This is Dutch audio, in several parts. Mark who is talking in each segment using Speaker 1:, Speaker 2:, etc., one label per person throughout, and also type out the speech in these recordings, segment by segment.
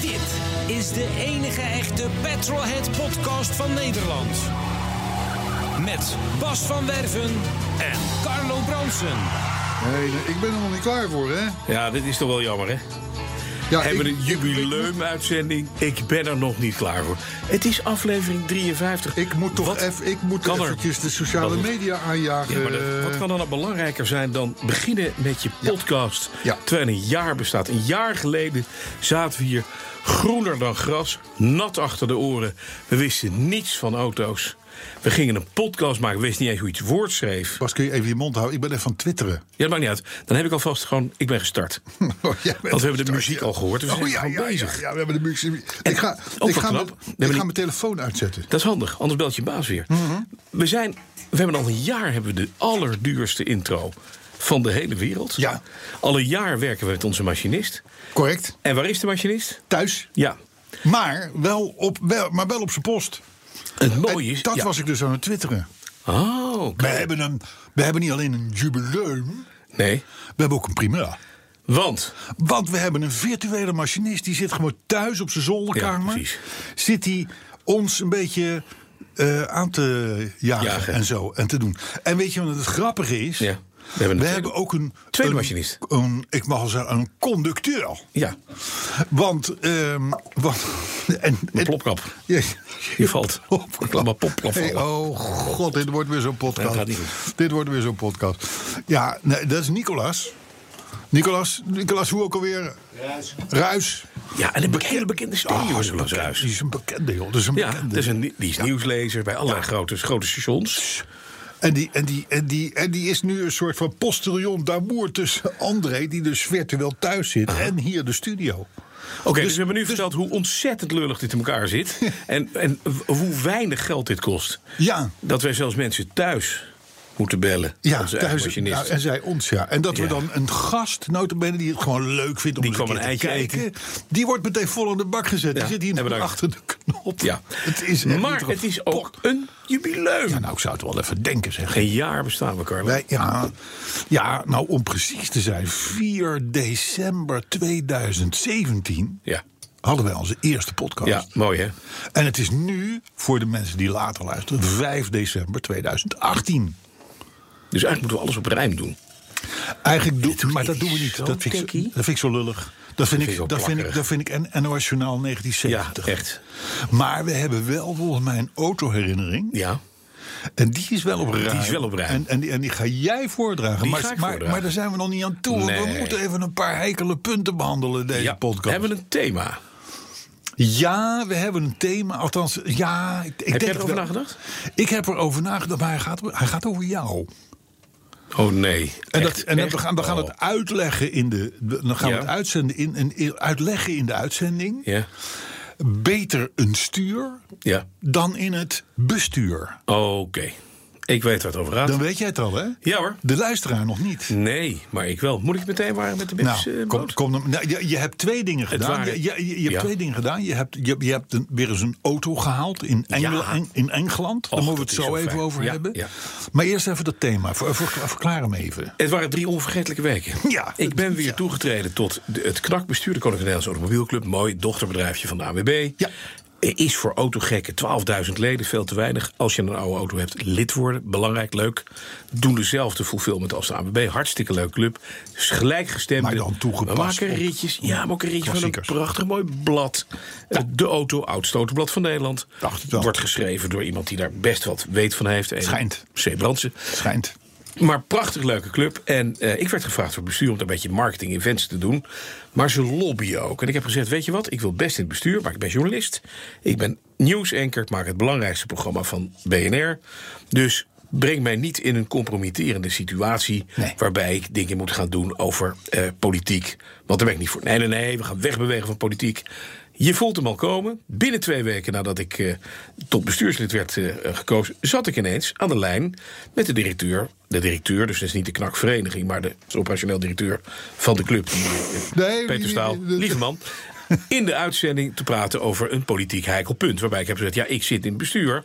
Speaker 1: Dit is de enige echte Petrolhead podcast van Nederland. Met Bas van Werven en Carlo Bronsen.
Speaker 2: Nee, nee, ik ben er nog niet klaar voor, hè?
Speaker 3: Ja, dit is toch wel jammer, hè?
Speaker 2: Ja,
Speaker 3: Hebben we
Speaker 2: Nou, ik-
Speaker 3: een jubileum-uitzending? Ik ben er nog niet klaar voor. Het is aflevering 53.
Speaker 2: Ik moet toch
Speaker 3: Wat
Speaker 2: even, ik moet
Speaker 3: kan er?
Speaker 2: eventjes de sociale
Speaker 3: Wat-
Speaker 2: media aanjagen.
Speaker 3: Ja, maar dat- wat kan er nou belangrijker zijn dan beginnen met je podcast?
Speaker 2: Ja.
Speaker 3: Terwijl een jaar bestaat. Een jaar geleden zaten we hier groener dan gras, nat achter de oren. We wisten niets van auto's. We gingen een podcast maken, we wisten niet eens hoe je het woord schreef.
Speaker 2: Bas, kun je even je mond houden? Ik ben even van twitteren. Oh,
Speaker 3: Ja, dat maakt niet uit. Dan heb ik alvast gewoon, ik ben gestart.
Speaker 2: Want we
Speaker 3: Want we hebben de muziek al gehoord. dus We zijn
Speaker 2: oh ja,
Speaker 3: gewoon
Speaker 2: ja, ja,
Speaker 3: bezig.
Speaker 2: ja, we hebben de muziek.
Speaker 3: En
Speaker 2: ik ga,
Speaker 3: ook
Speaker 2: ik
Speaker 3: wel
Speaker 2: ga,
Speaker 3: knap.
Speaker 2: mijn-
Speaker 3: We hebben
Speaker 2: ik
Speaker 3: niet-
Speaker 2: ga mijn telefoon uitzetten.
Speaker 3: Dat is handig, anders belt je baas weer.
Speaker 2: Mhm.
Speaker 3: We zijn, we hebben al een jaar hebben we de allerduurste intro van de hele wereld.
Speaker 2: Ja.
Speaker 3: Al een jaar werken we met onze machinist.
Speaker 2: Correct.
Speaker 3: En waar is de machinist?
Speaker 2: Thuis.
Speaker 3: Ja.
Speaker 2: Maar wel op, wel, maar wel op zijn post.
Speaker 3: Het
Speaker 2: En
Speaker 3: mooie is.
Speaker 2: Eh, dat
Speaker 3: Oh, ja.
Speaker 2: was ik dus aan het twitteren.
Speaker 3: Oh, oké.
Speaker 2: We hebben, een, we hebben niet alleen een jubileum,
Speaker 3: nee.
Speaker 2: we hebben ook een primeur.
Speaker 3: Want
Speaker 2: Want we hebben een virtuele machinist. Die zit gewoon thuis op zijn
Speaker 3: Ja,
Speaker 2: zolderkamer.
Speaker 3: precies.
Speaker 2: zit hij ons een beetje eh, aan te jagen,
Speaker 3: Jagen.
Speaker 2: en zo. En te doen. En weet je wat het grappige is?
Speaker 3: Ja, we hebben een
Speaker 2: we
Speaker 3: tweede-
Speaker 2: hebben ook een...
Speaker 3: tweede
Speaker 2: een-
Speaker 3: machinist.
Speaker 2: Een, ik mag al zeggen, een conducteur.
Speaker 3: ja,
Speaker 2: Want... ehm want en,
Speaker 3: een
Speaker 2: en-
Speaker 3: plopkap.
Speaker 2: Ja,
Speaker 3: Je valt.
Speaker 2: plopkap.
Speaker 3: Ik laat maar popplap
Speaker 2: Hey,
Speaker 3: vallen.
Speaker 2: oh god, dit wordt weer zo'n
Speaker 3: Nee,
Speaker 2: podcast.
Speaker 3: dat gaat niet goed.
Speaker 2: dit wordt weer zo'n podcast. Ja, nee, dat is Nicolas. Nicolas, Nicolas hoe ook alweer? Ruis. Ruis.
Speaker 3: Ja, en een beke- hele bekende stem,
Speaker 2: Oh,
Speaker 3: jongens.
Speaker 2: dat is een oh. bekende- Die is een bekende, joh. Dat is een
Speaker 3: Ja, dus-
Speaker 2: bekende.
Speaker 3: dat is een, die is nieuwslezer bij allerlei grote, grote stations.
Speaker 2: En, die, en, die, en, die, en die is nu een soort van postillon d'amour tussen André... die dus virtueel thuis zit, en hier de studio.
Speaker 3: Oké, dus, we hebben nu verteld hoe ontzettend lullig dit in elkaar zit. en, en w- hoe weinig geld dit kost.
Speaker 2: Ja,
Speaker 3: Dat wij zelfs mensen thuis moeten bellen.
Speaker 2: ja
Speaker 3: onze eigen
Speaker 2: thuis.
Speaker 3: machinist.
Speaker 2: nou, en zij ons, ja. En dat
Speaker 3: Ja.
Speaker 2: we dan een gast, notabene, die het gewoon leuk vindt om
Speaker 3: Die
Speaker 2: eens een
Speaker 3: kwam
Speaker 2: keer
Speaker 3: een
Speaker 2: te
Speaker 3: eitje
Speaker 2: kijken... die wordt meteen vol in de bak gezet.
Speaker 3: Ja,
Speaker 2: Die zit
Speaker 3: en
Speaker 2: hier nog
Speaker 3: bedankt.
Speaker 2: achter de knop.
Speaker 3: ja.
Speaker 2: Het is echt niet
Speaker 3: maar
Speaker 2: erop.
Speaker 3: het is ook een jubileum.
Speaker 2: Ja, nou, ik zou het wel even denken, zeg.
Speaker 3: Geen jaar bestaan we, Carlo.
Speaker 2: Wij, ja, ja, nou om precies te zijn, 4 december 2017
Speaker 3: Ja.
Speaker 2: hadden wij onze eerste podcast.
Speaker 3: ja, mooi hè?
Speaker 2: En het is nu, voor de mensen die later luisteren, 5 december 2018.
Speaker 3: Dus eigenlijk moeten we alles op rijm doen.
Speaker 2: Eigenlijk doe,
Speaker 3: doet
Speaker 2: maar dat
Speaker 3: ik
Speaker 2: doen we niet.
Speaker 3: zo
Speaker 2: Dat vind, ik,
Speaker 3: kekkie.
Speaker 2: dat vind ik zo lullig. Dat vind,
Speaker 3: vind ik wel
Speaker 2: ik, dat vind ik,
Speaker 3: plakkerig.
Speaker 2: dat vind ik en NOS Journaal 1970.
Speaker 3: Ja, echt.
Speaker 2: Maar we hebben wel volgens mij een autoherinnering.
Speaker 3: Ja.
Speaker 2: En die is wel op ruim.
Speaker 3: is wel op ruim.
Speaker 2: En, en, die, en die ga jij voordragen.
Speaker 3: Die
Speaker 2: maar,
Speaker 3: ga ik
Speaker 2: maar,
Speaker 3: voordragen.
Speaker 2: maar daar zijn we nog niet aan toe. want
Speaker 3: Nee.
Speaker 2: We moeten even een paar heikele punten behandelen in deze
Speaker 3: ja.
Speaker 2: podcast.
Speaker 3: Hebben we een thema?
Speaker 2: Ja, we hebben een thema. Althans, ja. Ik, ik
Speaker 3: Heb
Speaker 2: denk
Speaker 3: jij
Speaker 2: het
Speaker 3: erover
Speaker 2: wel.
Speaker 3: nagedacht?
Speaker 2: Ik heb erover nagedacht, maar hij gaat, hij gaat over jou.
Speaker 3: Oh nee.
Speaker 2: En,
Speaker 3: Echt,
Speaker 2: dat, en dat,
Speaker 3: echt?
Speaker 2: we gaan, we gaan
Speaker 3: Oh.
Speaker 2: het uitleggen in de. we- Dan gaan
Speaker 3: Ja.
Speaker 2: we het uitzenden in, in, in- uitleggen in de uitzending.
Speaker 3: Ja.
Speaker 2: Beter een stuur
Speaker 3: Ja.
Speaker 2: dan in het bestuur.
Speaker 3: Oké. Ik weet waar het over gaat.
Speaker 2: Dan weet jij het al, hè?
Speaker 3: Ja hoor.
Speaker 2: De luisteraar nog niet.
Speaker 3: Nee, maar ik wel. Moet ik meteen waren met de bips?
Speaker 2: Nou,
Speaker 3: eh,
Speaker 2: kom,
Speaker 3: boot?
Speaker 2: kom dan- nou, je, je hebt twee dingen gedaan.
Speaker 3: waren-
Speaker 2: Je, je, je- je hebt
Speaker 3: Ja.
Speaker 2: twee dingen gedaan. Je hebt, je, je hebt een- weer eens een auto gehaald in, Engel-
Speaker 3: Ja.
Speaker 2: Eng- in Engeland. Daar
Speaker 3: Och,
Speaker 2: moeten we het
Speaker 3: dat is
Speaker 2: zo
Speaker 3: zo
Speaker 2: even
Speaker 3: fijn.
Speaker 2: over
Speaker 3: Ja,
Speaker 2: hebben.
Speaker 3: ja.
Speaker 2: Maar eerst even dat thema. Ver, ver- verklaar hem even.
Speaker 3: Het waren drie onvergetelijke weken.
Speaker 2: Ja.
Speaker 3: Ik ben weer
Speaker 2: Ja.
Speaker 3: toegetreden tot de- het KNAK-bestuur, de Koninklijke Nederlandse Automobielclub. Mooi dochterbedrijfje van de AWB.
Speaker 2: Ja.
Speaker 3: Is voor autogekken 12.000 leden veel te weinig. Als je een oude auto hebt, lid worden. Belangrijk, leuk. Doen dezelfde fulfillment als de AWB. Hartstikke leuk club. Dus gelijkgestemd.
Speaker 2: Maar dan toegepast
Speaker 3: We maken
Speaker 2: op-
Speaker 3: ritjes. Ja, maar ook een ritje van een
Speaker 2: Klassiekers.
Speaker 3: prachtig mooi blad. Eh, De auto, oudste autoblad van Nederland.
Speaker 2: Dacht het wel.
Speaker 3: Wordt geschreven door iemand die daar best wat weet van heeft. En
Speaker 2: Schijnt.
Speaker 3: C. Brandsen.
Speaker 2: Schijnt.
Speaker 3: Maar prachtig leuke club. En eh, ik werd gevraagd door het bestuur om daar een beetje marketing events te doen. Maar ze lobbyen ook. En ik heb gezegd, weet je wat, ik wil best in het bestuur, maar ik ben journalist. Ik ben nieuwsanker, ik maak het belangrijkste programma van BNR. Dus breng mij niet in een compromitterende situatie.
Speaker 4: Nee.
Speaker 3: waarbij ik dingen moet gaan doen over eh, politiek. Want daar ben ik niet voor. Nee, nee, nee, we gaan wegbewegen van politiek. Je voelt hem al komen. Binnen twee weken nadat ik eh, tot bestuurslid werd eh, gekozen, zat ik ineens aan de lijn met de directeur. De directeur, dus dat is niet de knakvereniging, maar de operationeel directeur van de club. die, eh,
Speaker 2: Nee,
Speaker 3: Peter
Speaker 2: die-
Speaker 3: Staal,
Speaker 2: die-
Speaker 3: lieve man. In de uitzending te praten over een politiek heikel punt. Waarbij ik heb gezegd: ja, ik zit in het bestuur.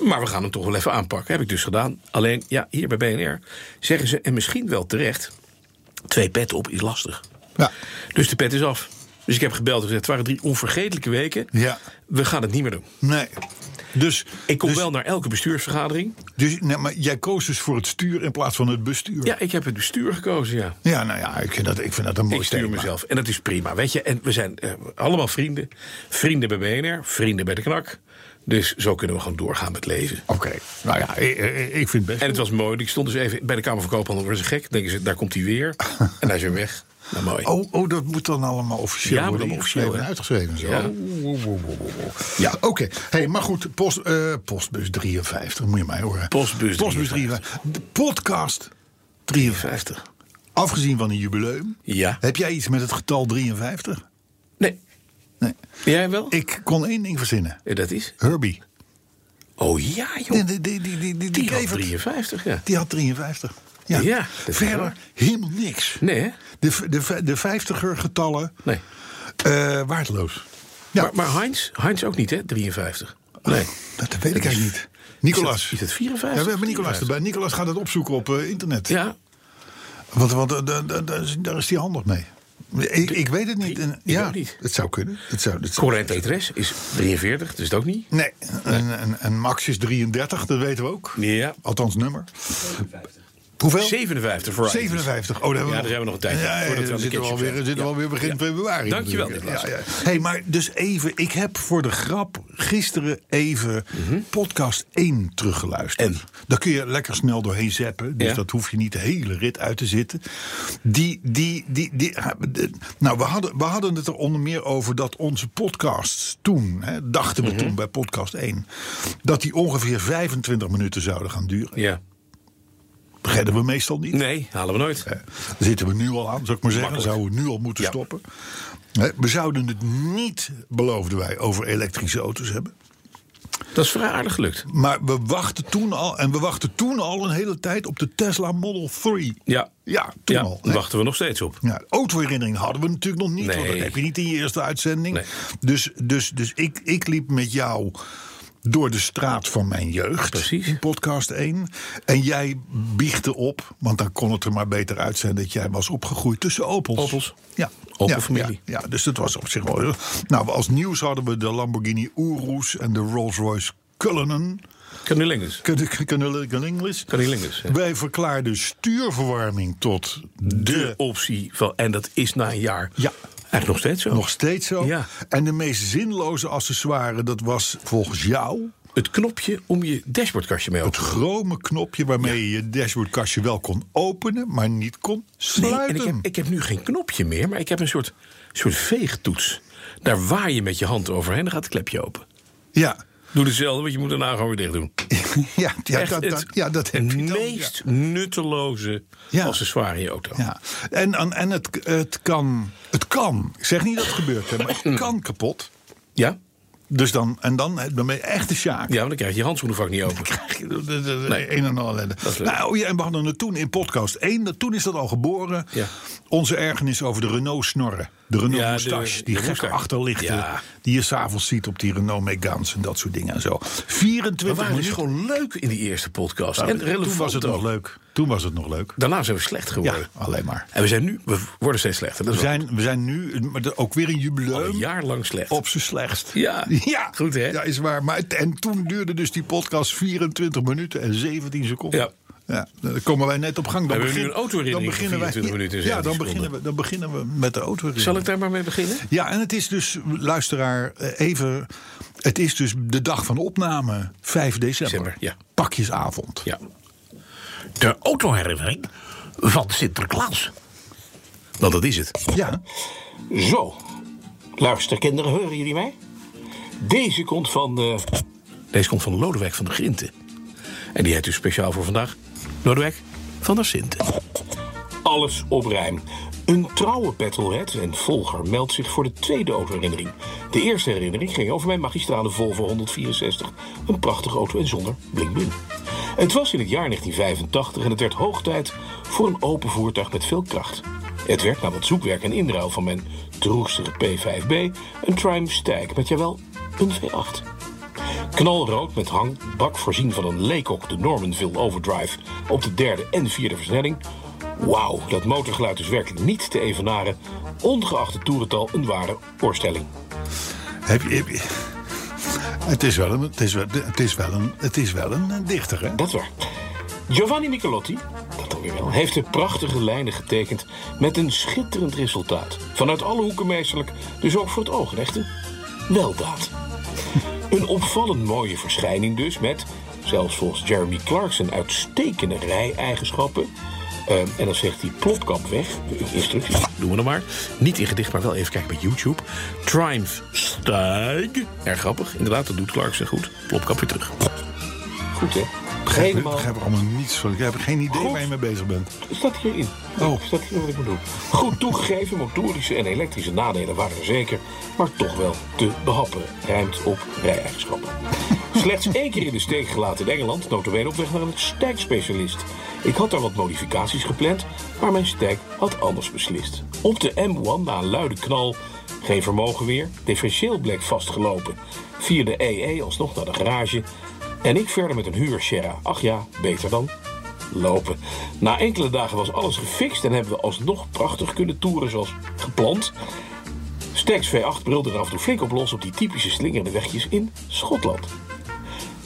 Speaker 3: Maar we gaan hem toch wel even aanpakken. Heb ik dus gedaan. Alleen, ja, hier bij BNR zeggen ze, en misschien wel terecht. Twee petten op is lastig.
Speaker 2: Ja.
Speaker 3: Dus de pet is af. Dus ik heb gebeld en gezegd: het waren drie onvergetelijke weken.
Speaker 2: Ja.
Speaker 3: We gaan het niet meer doen.
Speaker 2: Nee. Dus,
Speaker 3: Ik kom
Speaker 2: dus,
Speaker 3: wel naar elke bestuursvergadering.
Speaker 2: Dus, nee, maar jij koos dus voor het stuur in plaats van het bestuur.
Speaker 3: Ja, ik heb het bestuur gekozen, ja.
Speaker 2: Ja, nou ja, ik vind dat, ik vind dat een mooi
Speaker 3: Ik stuur
Speaker 2: thema.
Speaker 3: mezelf. En dat is prima. Weet je, en we zijn eh, allemaal vrienden. Vrienden bij BNR, vrienden bij de knak. Dus zo kunnen we gewoon doorgaan met leven.
Speaker 2: Oké, nou ja, ik, ik- ik vind het best.
Speaker 3: En het was mooi. Ik stond dus even bij de Kamer van Koophandel. Worden ze gek? Denken ze, daar komt hij weer. En hij is weer weg. Nou, mooi.
Speaker 2: Oh, oh, dat moet dan allemaal officieel
Speaker 3: Ja, moet
Speaker 2: worden
Speaker 3: allemaal
Speaker 2: officieel en uitgeschreven. Zo. Oh,
Speaker 3: Ja.
Speaker 2: Oeh, oeh, oeh, oeh, oeh. Ja, oh. oké. Hey, maar goed, post, eh, postbus 53, moet je mij horen.
Speaker 3: Postbus
Speaker 2: postbus 53. De podcast 53. Afgezien van een jubileum.
Speaker 3: Ja.
Speaker 2: Heb jij iets met het getal 53?
Speaker 3: Nee.
Speaker 2: Nee.
Speaker 3: Jij wel?
Speaker 2: Ik kon één ding verzinnen.
Speaker 3: Eh, Dat is?
Speaker 2: Herbie.
Speaker 3: Oh ja, joh.
Speaker 2: Die, die, die, die, die, die,
Speaker 3: Die had
Speaker 2: levert-
Speaker 3: 53, ja.
Speaker 2: die had 53. Ja.
Speaker 3: Ja, dat is
Speaker 2: Verder
Speaker 3: waar.
Speaker 2: helemaal niks.
Speaker 3: Nee, hè?
Speaker 2: De, de, de 50er getallen
Speaker 3: Nee.
Speaker 2: eh, waardeloos. Ja.
Speaker 3: Maar, maar Heinz? Heinz ook niet, hè? 53. Nee.
Speaker 2: Dat weet ik
Speaker 3: is-
Speaker 2: eigenlijk niet. Nicolas.
Speaker 3: is het 54?
Speaker 2: Ja, we hebben Nicolas
Speaker 3: 53.
Speaker 2: erbij. Nicolas gaat het opzoeken op eh, internet.
Speaker 3: Ja,
Speaker 2: Want, want eh, da- da- da- is- daar is hij handig mee. Ik, ik weet het niet. En- ja,
Speaker 3: ook niet.
Speaker 2: Het zou kunnen. Het zou, het zou-
Speaker 3: Corijn Petres is 43, dus dat ook niet.
Speaker 2: Nee, en, en, en Max is 33, dat weten we ook.
Speaker 3: Ja.
Speaker 2: Althans, nummer. Hoeveel?
Speaker 3: 57 voor Ryan.
Speaker 2: 57. Oh, daar hebben we,
Speaker 3: Ja,
Speaker 2: nog.
Speaker 3: daar hebben we nog een tijdje.
Speaker 2: Ja, ja,
Speaker 3: Voordat we aan
Speaker 2: dan
Speaker 3: de
Speaker 2: zitten we
Speaker 3: ketchup
Speaker 2: alweer,
Speaker 3: zijn.
Speaker 2: zitten we
Speaker 3: Ja.
Speaker 2: alweer begin februari.
Speaker 3: Dankjewel,
Speaker 2: natuurlijk. Ja,
Speaker 3: Nicolas.
Speaker 2: ja. hey, maar dus even, ik heb voor de grap gisteren even podcast 1 teruggeluisterd.
Speaker 3: Mhm. En?
Speaker 2: Daar kun je lekker snel doorheen zeppen. Dus
Speaker 3: Ja.
Speaker 2: dat hoef je niet de hele rit uit te zitten. Die, die, die, die, ha- de- nou, we hadden, we hadden het er onder meer over dat onze podcasts toen, hè, dachten
Speaker 3: Mhm.
Speaker 2: we toen bij podcast 1, dat die ongeveer 25 minuten zouden gaan duren.
Speaker 3: Ja.
Speaker 2: Redden we meestal niet.
Speaker 3: Nee, halen we nooit.
Speaker 2: Daar zitten we nu al aan, zou ik maar zeggen.
Speaker 3: Makkelijk.
Speaker 2: Zouden we nu al moeten
Speaker 3: Ja.
Speaker 2: stoppen. Hè, We zouden het niet, beloofden wij, over elektrische auto's hebben.
Speaker 3: Dat is vrij aardig gelukt.
Speaker 2: Maar we wachten toen al, en we wachten toen al een hele tijd op de Tesla Model 3.
Speaker 3: Ja.
Speaker 2: Ja, toen
Speaker 3: Ja,
Speaker 2: al.
Speaker 3: daar
Speaker 2: hè.
Speaker 3: wachten we nog steeds op.
Speaker 2: Ja, autoherinnering hadden we natuurlijk nog niet.
Speaker 3: Nee.
Speaker 2: Want dat heb je niet in je eerste uitzending.
Speaker 3: Nee.
Speaker 2: Dus, dus, dus ik, ik liep met jou door de straat van mijn jeugd.
Speaker 3: Precies.
Speaker 2: In podcast 1. En jij biechtte op, want dan kon het er maar beter uitzien dat jij was opgegroeid tussen Opels.
Speaker 3: Opels.
Speaker 2: Ja.
Speaker 3: Opelfamilie.
Speaker 2: Ja, ja, ja, dus dat was op zich wel. heel- Nou, als nieuws hadden we de Lamborghini Urus en de Rolls-Royce Cullinan.
Speaker 3: Kan nu links.
Speaker 2: Cullinan.
Speaker 3: Kan nu links. hè.
Speaker 2: Wij verklaarden stuurverwarming tot de
Speaker 3: De optie van, en dat is na een jaar.
Speaker 2: Ja.
Speaker 3: Eigenlijk nog steeds zo.
Speaker 2: Nog steeds zo.
Speaker 3: Ja.
Speaker 2: En de meest zinloze accessoire, dat was volgens jou
Speaker 3: Het knopje om je dashboardkastje mee
Speaker 2: het
Speaker 3: open te
Speaker 2: chrome knopje waarmee je je dashboardkastje wel kon openen, maar niet kon
Speaker 3: Nee,
Speaker 2: sluiten.
Speaker 3: en ik heb, ik heb nu geen knopje meer, maar ik heb een soort, soort veegtoets. Daar waai je met je hand overheen en dan gaat het klepje open.
Speaker 2: Ja,
Speaker 3: Doe hetzelfde, want je moet daarna gewoon weer dicht doen.
Speaker 2: ja, ja,
Speaker 3: Echt
Speaker 2: dat,
Speaker 3: het
Speaker 2: dat, ja dat heb je dan, ja.
Speaker 3: meest nutteloze
Speaker 2: Ja.
Speaker 3: accessoire in je auto.
Speaker 2: Ja. En, en, en het, het kan, het kan, ik zeg niet dat het gebeurt, hè, maar het kan kapot.
Speaker 3: ja?
Speaker 2: Dus dan, en dan, dan ben je echt de sjaak.
Speaker 3: Ja, want dan krijg je je handschoenen vaak niet open.
Speaker 2: Nee, een en al ellende.
Speaker 3: is leuk.
Speaker 2: Nou, ja, en we hadden het toen in podcast 1, dat, toen is dat al geboren.
Speaker 3: Ja.
Speaker 2: Onze ergernis over de Renault snorren. De Renault
Speaker 3: Ja, de-
Speaker 2: moustache,
Speaker 3: de
Speaker 2: die gekke
Speaker 3: moustache.
Speaker 2: achterlichten.
Speaker 3: Ja.
Speaker 2: Die je s'avonds ziet op die Renault Megans en dat soort dingen en zo.
Speaker 3: We
Speaker 2: 24
Speaker 3: waren dus
Speaker 2: minuten.
Speaker 3: gewoon leuk in die eerste podcast.
Speaker 2: Nou,
Speaker 3: en relevant
Speaker 2: toen was het
Speaker 3: ook.
Speaker 2: nog leuk. Toen was het nog leuk.
Speaker 3: Daarna zijn we slecht
Speaker 2: Ja,
Speaker 3: geworden.
Speaker 2: alleen maar.
Speaker 3: En we zijn nu, we worden steeds slechter. Dat
Speaker 2: We
Speaker 3: is wel Oh,
Speaker 2: zijn, we zijn nu maar dat- ook weer een
Speaker 3: een
Speaker 2: jubileum.
Speaker 3: jaar lang slecht.
Speaker 2: Op zijn slechtst.
Speaker 3: Ja.
Speaker 2: ja,
Speaker 3: Goed, hè?
Speaker 2: Ja, is waar. Maar het- en toen duurde dus die podcast 24 minuten en 17 seconden.
Speaker 3: Ja.
Speaker 2: Ja, daar komen wij net op gang. Dan
Speaker 3: Hebben we nu een autoherinnering
Speaker 2: dan beginnen wij-
Speaker 3: van 24 minuten en
Speaker 2: Ja, dan
Speaker 3: 17
Speaker 2: beginnen, we,
Speaker 3: seconden?
Speaker 2: dan beginnen we met de auto.
Speaker 3: Zal ik daar maar mee beginnen?
Speaker 2: Ja, en het is dus, luisteraar, eh, even. Het is dus de dag van opname, 5 december.
Speaker 3: December, ja.
Speaker 2: Pakjesavond.
Speaker 3: Ja.
Speaker 5: de autoherinnering van Sinterklaas.
Speaker 3: Want dat is het.
Speaker 2: Ja.
Speaker 5: Zo, luister kinderen, horen jullie mij? Deze komt van... eh,
Speaker 3: Deze komt van Lodewijk van de Grinten.
Speaker 6: En die heet u speciaal voor vandaag Lodewijk van der Sinten.
Speaker 3: Alles op rijm. Een trouwe petrolhead en volger meldt zich voor de tweede autoherinnering. De eerste herinnering ging over mijn magistrale Volvo 164. Een prachtige auto en zonder bling-bling. Het was in het jaar 1985 en het werd hoog tijd voor een open voertuig met veel kracht. Het werd na wat zoekwerk en inruil van mijn droestige P5B een Triumph Stag met jawel een V8. Knalrood met hangbak voorzien van een Leacock de Normanville Overdrive op de derde en vierde versnelling. Wauw, dat motorgeluid is werkelijk niet te evenaren, ongeacht het toerental een ware oorstelling.
Speaker 2: Heb je, heb je- het is wel een, het is wel, het is wel een, het is wel een eh, dichter, hè?
Speaker 3: Dat is waar. Giovanni Nicolotti, dat dan weer wel, heeft de prachtige lijnen getekend met een schitterend resultaat. Vanuit alle hoeken meesterlijk, dus ook voor het oog, een echte weldaad. Een opvallend mooie verschijning dus met, zelfs volgens Jeremy Clarkson, uitstekende rij-eigenschappen. Eh, en dan zegt hij plopkap weg, de instructies.
Speaker 6: Doen we dan maar. Niet in gedicht, maar wel even kijken bij YouTube. Triumph Stag. Erg grappig. Inderdaad, dat doet Clarkson goed. Plopkap weer terug.
Speaker 3: Goed hè?
Speaker 2: Ik
Speaker 3: Helemaal.
Speaker 2: begrijp er allemaal niets van. Ik heb geen idee
Speaker 3: Goed.
Speaker 2: waar je mee bezig bent.
Speaker 3: Staat hierin.
Speaker 2: Oh.
Speaker 3: Oh. Staat hier wat ik moet doen. Goed toegegeven, motorische en elektrische nadelen waren er zeker, maar toch wel te behappen. Rijmt op rij-eigenschappen. Slechts één keer in de steek gelaten in Engeland, notabene op weg naar een stijgspecialist. Ik had daar wat modificaties gepland, maar mijn stijk had anders beslist. Op de M1 na een luide knal, geen vermogen weer, differentieel bleek vastgelopen. Via de EE alsnog naar de garage en ik verder met een huur Sierra. Ach ja, beter dan lopen. Na enkele dagen was alles gefixt en hebben we alsnog prachtig kunnen toeren zoals gepland. Stax V8 brilde er af en toe flink op los op die typische slingerende wegjes in Schotland.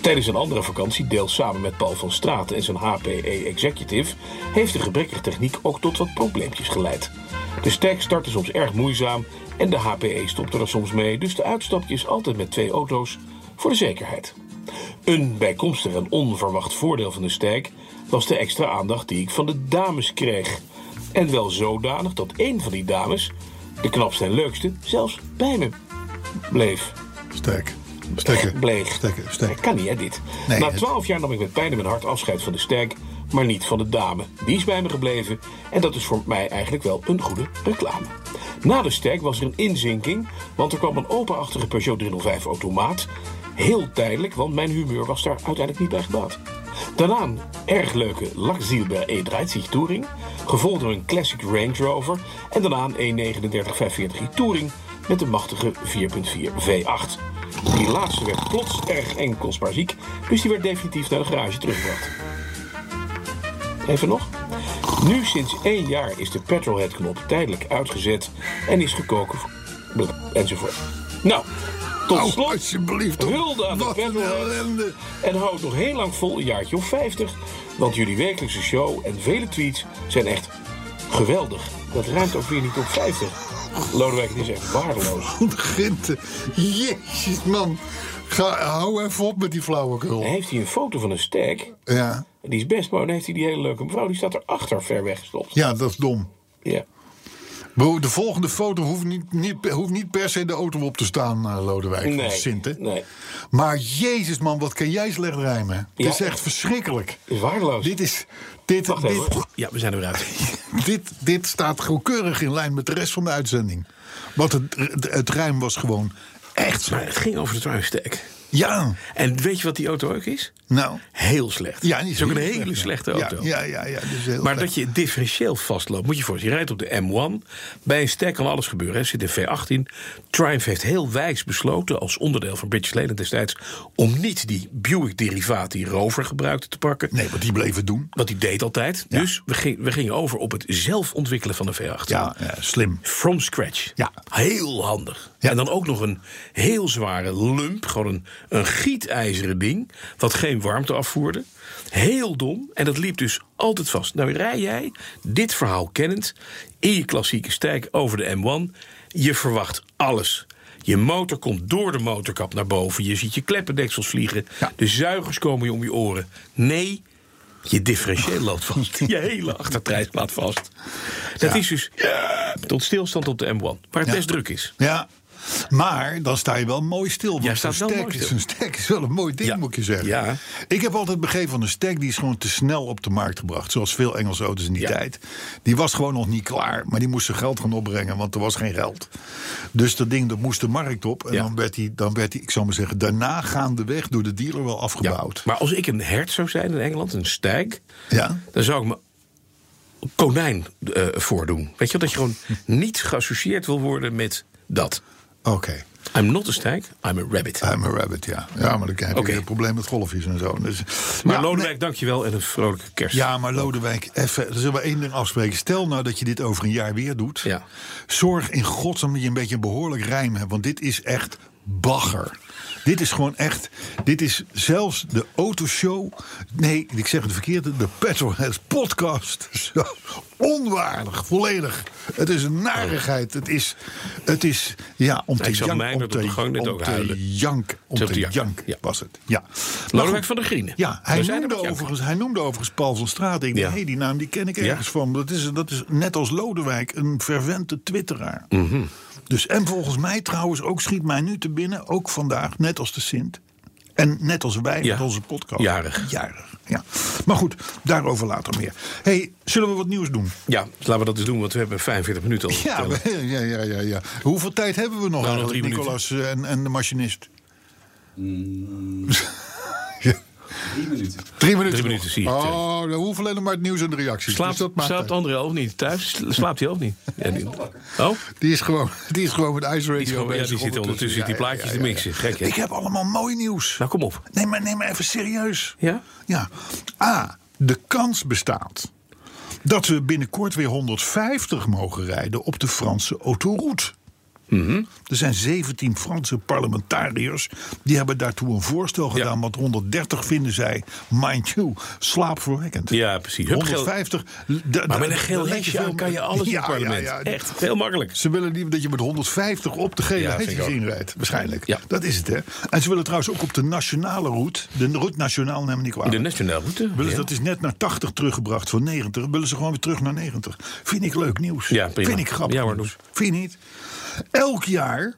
Speaker 3: Tijdens een andere vakantie, deels samen met Paul van Straten en zijn HPE Executive, heeft de gebrekkige techniek ook tot wat probleempjes geleid. De stack startte soms erg moeizaam en de HPE stopte er soms mee, dus de uitstapje is altijd met twee auto's voor de zekerheid. Een bijkomstig en onverwacht voordeel van de stack was de extra aandacht die ik van de dames kreeg. En wel zodanig dat één van die dames, de knapste en leukste, zelfs bij me bleef.
Speaker 2: Sterk. Stekken.
Speaker 3: Bleek.
Speaker 2: Stekken.
Speaker 3: Dat
Speaker 2: Stekken.
Speaker 3: kan niet, hè, dit.
Speaker 2: Nee,
Speaker 3: Na
Speaker 2: het-
Speaker 3: twaalf jaar nam ik met pijn in mijn hart afscheid van de sterk, maar niet van de dame. Die is bij me gebleven en dat is voor mij eigenlijk wel een goede reclame. Na de sterk was er een inzinking, want er kwam een openachtige Peugeot 305 automaat. Heel tijdelijk, want mijn humeur was daar uiteindelijk niet bij gebaat. Daarna een erg leuke Lachzielber E30 Touring, gevolgd door een Classic Range Rover en daarna een E39 540 Touring met een machtige 4.4 V8. Die laatste werd plots erg eng kostbaar ziek, dus die werd definitief naar de garage teruggebracht. Even nog. Nu sinds één jaar is de petrolhead-knop tijdelijk uitgezet en is gekoken voor... bl- enzovoort. Nou, tot
Speaker 2: Oh,
Speaker 3: slot...
Speaker 2: alsjeblieft.
Speaker 3: Hulde aan de
Speaker 2: Wat een
Speaker 3: petrolhead.
Speaker 2: ellende.
Speaker 3: En houd nog heel lang vol, een jaartje of 50. Want jullie wekelijkse show en vele tweets zijn echt geweldig. Dat ruimt ook weer niet op 50. Lodewijk, het is echt waardeloos.
Speaker 2: Grinten. Jezus, man. Ga, hou even op met die flauwekul.
Speaker 3: Heeft hij een foto van een stack?
Speaker 2: Ja.
Speaker 3: Die is best mooi. Dan heeft hij die hele leuke mevrouw. Die staat erachter ver weg gestopt.
Speaker 2: ja, dat is dom.
Speaker 3: Ja.
Speaker 2: Bro, de volgende foto hoeft niet, niet, hoeft niet per se de auto op te staan, eh, Lodewijk. van
Speaker 3: Nee,
Speaker 2: Sinten.
Speaker 3: nee.
Speaker 2: Maar jezus, man, wat kan jij slecht rijmen? Het
Speaker 3: Ja.
Speaker 2: is echt verschrikkelijk.
Speaker 3: Is waardeloos.
Speaker 2: Dit is. Dit,
Speaker 3: Wacht even,
Speaker 2: dit,
Speaker 3: hoor.
Speaker 6: Ja, we zijn er weer uit.
Speaker 2: dit, dit staat gewoon keurig in lijn met de rest van de uitzending. Want het, het, het rijm was gewoon echt
Speaker 6: Maar
Speaker 2: slecht.
Speaker 6: het ging over de Triumph Stag.
Speaker 2: Ja,
Speaker 6: En weet je wat die auto ook is?
Speaker 2: nou.
Speaker 6: Heel slecht.
Speaker 2: Ja,
Speaker 6: Het
Speaker 2: niet
Speaker 6: is ook een
Speaker 2: heel
Speaker 6: hele
Speaker 2: slecht, ja.
Speaker 6: slechte auto.
Speaker 2: Ja, ja, ja. ja dit is heel
Speaker 6: Maar
Speaker 2: slecht.
Speaker 6: dat je differentieel vastloopt, moet je voor je rijdt op de M1. Bij een sterk kan alles gebeuren. Er zit een V8 in. Triumph heeft heel wijs besloten, als onderdeel van British Leyland destijds, om niet die Buick-derivaat die Rover gebruikte te pakken.
Speaker 2: Nee, want die bleven doen.
Speaker 6: Wat die deed altijd. Dus we, ging- we gingen over op het zelf ontwikkelen van de V8.
Speaker 2: Ja, ja, slim.
Speaker 6: From scratch.
Speaker 2: Ja.
Speaker 6: Heel handig.
Speaker 2: Ja.
Speaker 6: En dan ook nog een heel zware lump. Gewoon een, een gietijzeren ding. Wat geen warmte afvoerde. Heel dom. En dat liep dus altijd vast. Nou rij jij, dit verhaal kennend, in je klassieke stijk over de M1. Je verwacht alles. Je motor komt door de motorkap naar boven. Je ziet je kleppendeksels vliegen.
Speaker 2: Ja.
Speaker 6: De zuigers komen je om je oren. Nee, je differentieel loopt vast. Je hele achtertrein staat vast. Dat is dus tot stilstand op de M1. Waar het
Speaker 2: Ja.
Speaker 6: best druk is.
Speaker 2: Ja. Maar dan sta je wel mooi stil. Want
Speaker 3: Ja,
Speaker 2: zo'n
Speaker 3: staat wel
Speaker 2: stek
Speaker 3: mooi
Speaker 2: is
Speaker 3: stil.
Speaker 2: een stek is wel een mooi ding,
Speaker 3: Ja.
Speaker 2: moet je zeggen.
Speaker 3: Ja.
Speaker 2: Ik heb altijd begrepen van een stek die is gewoon te snel op de markt gebracht. Zoals veel Engelse auto's in die
Speaker 3: Ja.
Speaker 2: tijd. Die was gewoon nog niet klaar. Maar die moesten geld gaan opbrengen, want er was geen geld. Dus dat ding dat moest de markt op. En
Speaker 3: Ja.
Speaker 2: dan, werd die, dan werd die, ik zou maar zeggen, daarna gaandeweg door de dealer wel
Speaker 3: Ja,
Speaker 2: afgebouwd.
Speaker 3: Maar als ik een hert zou zijn in Engeland, een stijk,
Speaker 2: Ja.
Speaker 3: dan zou ik me konijn eh, voordoen. Weet je wel, dat je gewoon niet geassocieerd wil worden met dat.
Speaker 2: Oké.
Speaker 3: I'm not a stijk, I'm a rabbit.
Speaker 2: I'm a rabbit, ja. Ja, maar dan krijg je
Speaker 3: Oké.
Speaker 2: weer een probleem met golfjes en zo. Dus,
Speaker 3: Maar
Speaker 2: Ja,
Speaker 3: Lodewijk,
Speaker 2: nee.
Speaker 3: dankjewel en een vrolijke kerst.
Speaker 2: Ja, maar Lodewijk, even, er zullen we één ding afspreken. Stel nou dat je dit over een jaar weer doet.
Speaker 3: Ja.
Speaker 2: Zorg in godsnaam dat je een beetje een behoorlijk rijm hebt. Want dit is echt bagger. Dit is gewoon echt... Dit is zelfs de autoshow... Nee, ik zeg het verkeerde. De Petrolheads podcast. Zo onwaardig, volledig. Het is een narigheid. Het is, het is ja, om te
Speaker 3: Ik zag
Speaker 2: jank,
Speaker 3: Meijner
Speaker 2: om
Speaker 3: op de gang
Speaker 2: te,
Speaker 3: net
Speaker 2: om
Speaker 3: ook
Speaker 2: te
Speaker 3: huilen.
Speaker 2: jank, om
Speaker 3: Zat
Speaker 2: te
Speaker 3: te janken,
Speaker 2: jank
Speaker 3: ja.
Speaker 2: was het. Ja. Maar
Speaker 3: Lodewijk
Speaker 2: goed.
Speaker 3: van der Grienen.
Speaker 2: Ja, hij
Speaker 3: We zijn er
Speaker 2: noemde,
Speaker 3: met Jank.
Speaker 2: overigens, hij noemde overigens Paul van Straat. Ik
Speaker 3: Ja.
Speaker 2: dacht, hé, die naam Nou, die ken ik ergens van. Dat is, dat is net als Lodewijk, een vervente twitteraar.
Speaker 3: Mhm.
Speaker 2: Dus, en volgens mij trouwens, ook schiet mij nu te binnen, ook vandaag, net als de Sint. En net als wij
Speaker 3: Ja.
Speaker 2: met onze podcast.
Speaker 3: Jarig.
Speaker 2: Jarig, ja. Maar goed, daarover later meer. hey, zullen we wat nieuws doen?
Speaker 3: Ja, dus laten we dat eens doen, want we hebben 45 minuten al. te
Speaker 2: Ja,
Speaker 3: vertellen. Nou,
Speaker 2: we- ja, ja, ja, ja. Hoeveel tijd hebben we nog
Speaker 3: nog
Speaker 2: eigenlijk,
Speaker 3: drie
Speaker 2: Nicolas eh, en, en de machinist?
Speaker 4: Drie minuten.
Speaker 2: Drie minuten.
Speaker 3: Mm. Drie
Speaker 2: nog.
Speaker 3: minuten, zie je.
Speaker 2: Oh, we hoeven alleen nog maar het nieuws en de reacties.
Speaker 3: Slaapt,
Speaker 2: Dus dat maakt
Speaker 3: slaapt
Speaker 2: uit.
Speaker 3: André ook niet thuis? Sla- Slaapt hij ook niet? Ja, die- Oh,
Speaker 2: Die is gewoon, die is gewoon met Ice
Speaker 3: die, is
Speaker 2: Radio
Speaker 3: gewoon, ja,
Speaker 2: bezig
Speaker 3: die zit ondertussen
Speaker 2: Ja,
Speaker 3: die
Speaker 2: ja,
Speaker 3: plaatjes
Speaker 2: ja,
Speaker 3: te
Speaker 2: ja, ja.
Speaker 3: mixen. Gek, hè?
Speaker 2: Ik heb allemaal mooi nieuws.
Speaker 3: Nou, kom op.
Speaker 2: Nee, maar neem maar even serieus.
Speaker 3: Ja?
Speaker 2: Ja. A. De kans bestaat dat we binnenkort weer 150 mogen rijden op de Franse autoroute.
Speaker 3: Mhm.
Speaker 2: Er zijn 17 Franse parlementariërs. Die hebben daartoe een voorstel gedaan. Want 130 vinden zij, mind you, slaapverwekkend.
Speaker 3: Ja, precies. Hup, geel-
Speaker 2: 150. da- da-
Speaker 3: Maar met een geel
Speaker 2: daar lijkt
Speaker 3: hesje
Speaker 2: veel
Speaker 3: aan kan
Speaker 2: mee.
Speaker 3: je alles in
Speaker 2: Ja,
Speaker 3: het parlement.
Speaker 2: ja, ja.
Speaker 3: Echt, heel makkelijk.
Speaker 2: Ze willen liever dat je met 150 op de gele
Speaker 3: Ja, vind
Speaker 2: hesjes
Speaker 3: ik ook.
Speaker 2: inrijdt. Waarschijnlijk.
Speaker 3: Ja.
Speaker 2: Dat is het, hè. En ze willen trouwens ook op de nationale route... de route nationaal nemen niet kwalijk.
Speaker 3: De nationale route.
Speaker 2: willen ze,
Speaker 3: ja.
Speaker 2: dat is net naar 80 teruggebracht van 90. Willen ze gewoon weer terug naar 90. Vind ik leuk nieuws.
Speaker 3: Ja, prima.
Speaker 2: Vind ik grappig
Speaker 3: Ja, hoor,
Speaker 2: nieuws. Vind je niet? Elk jaar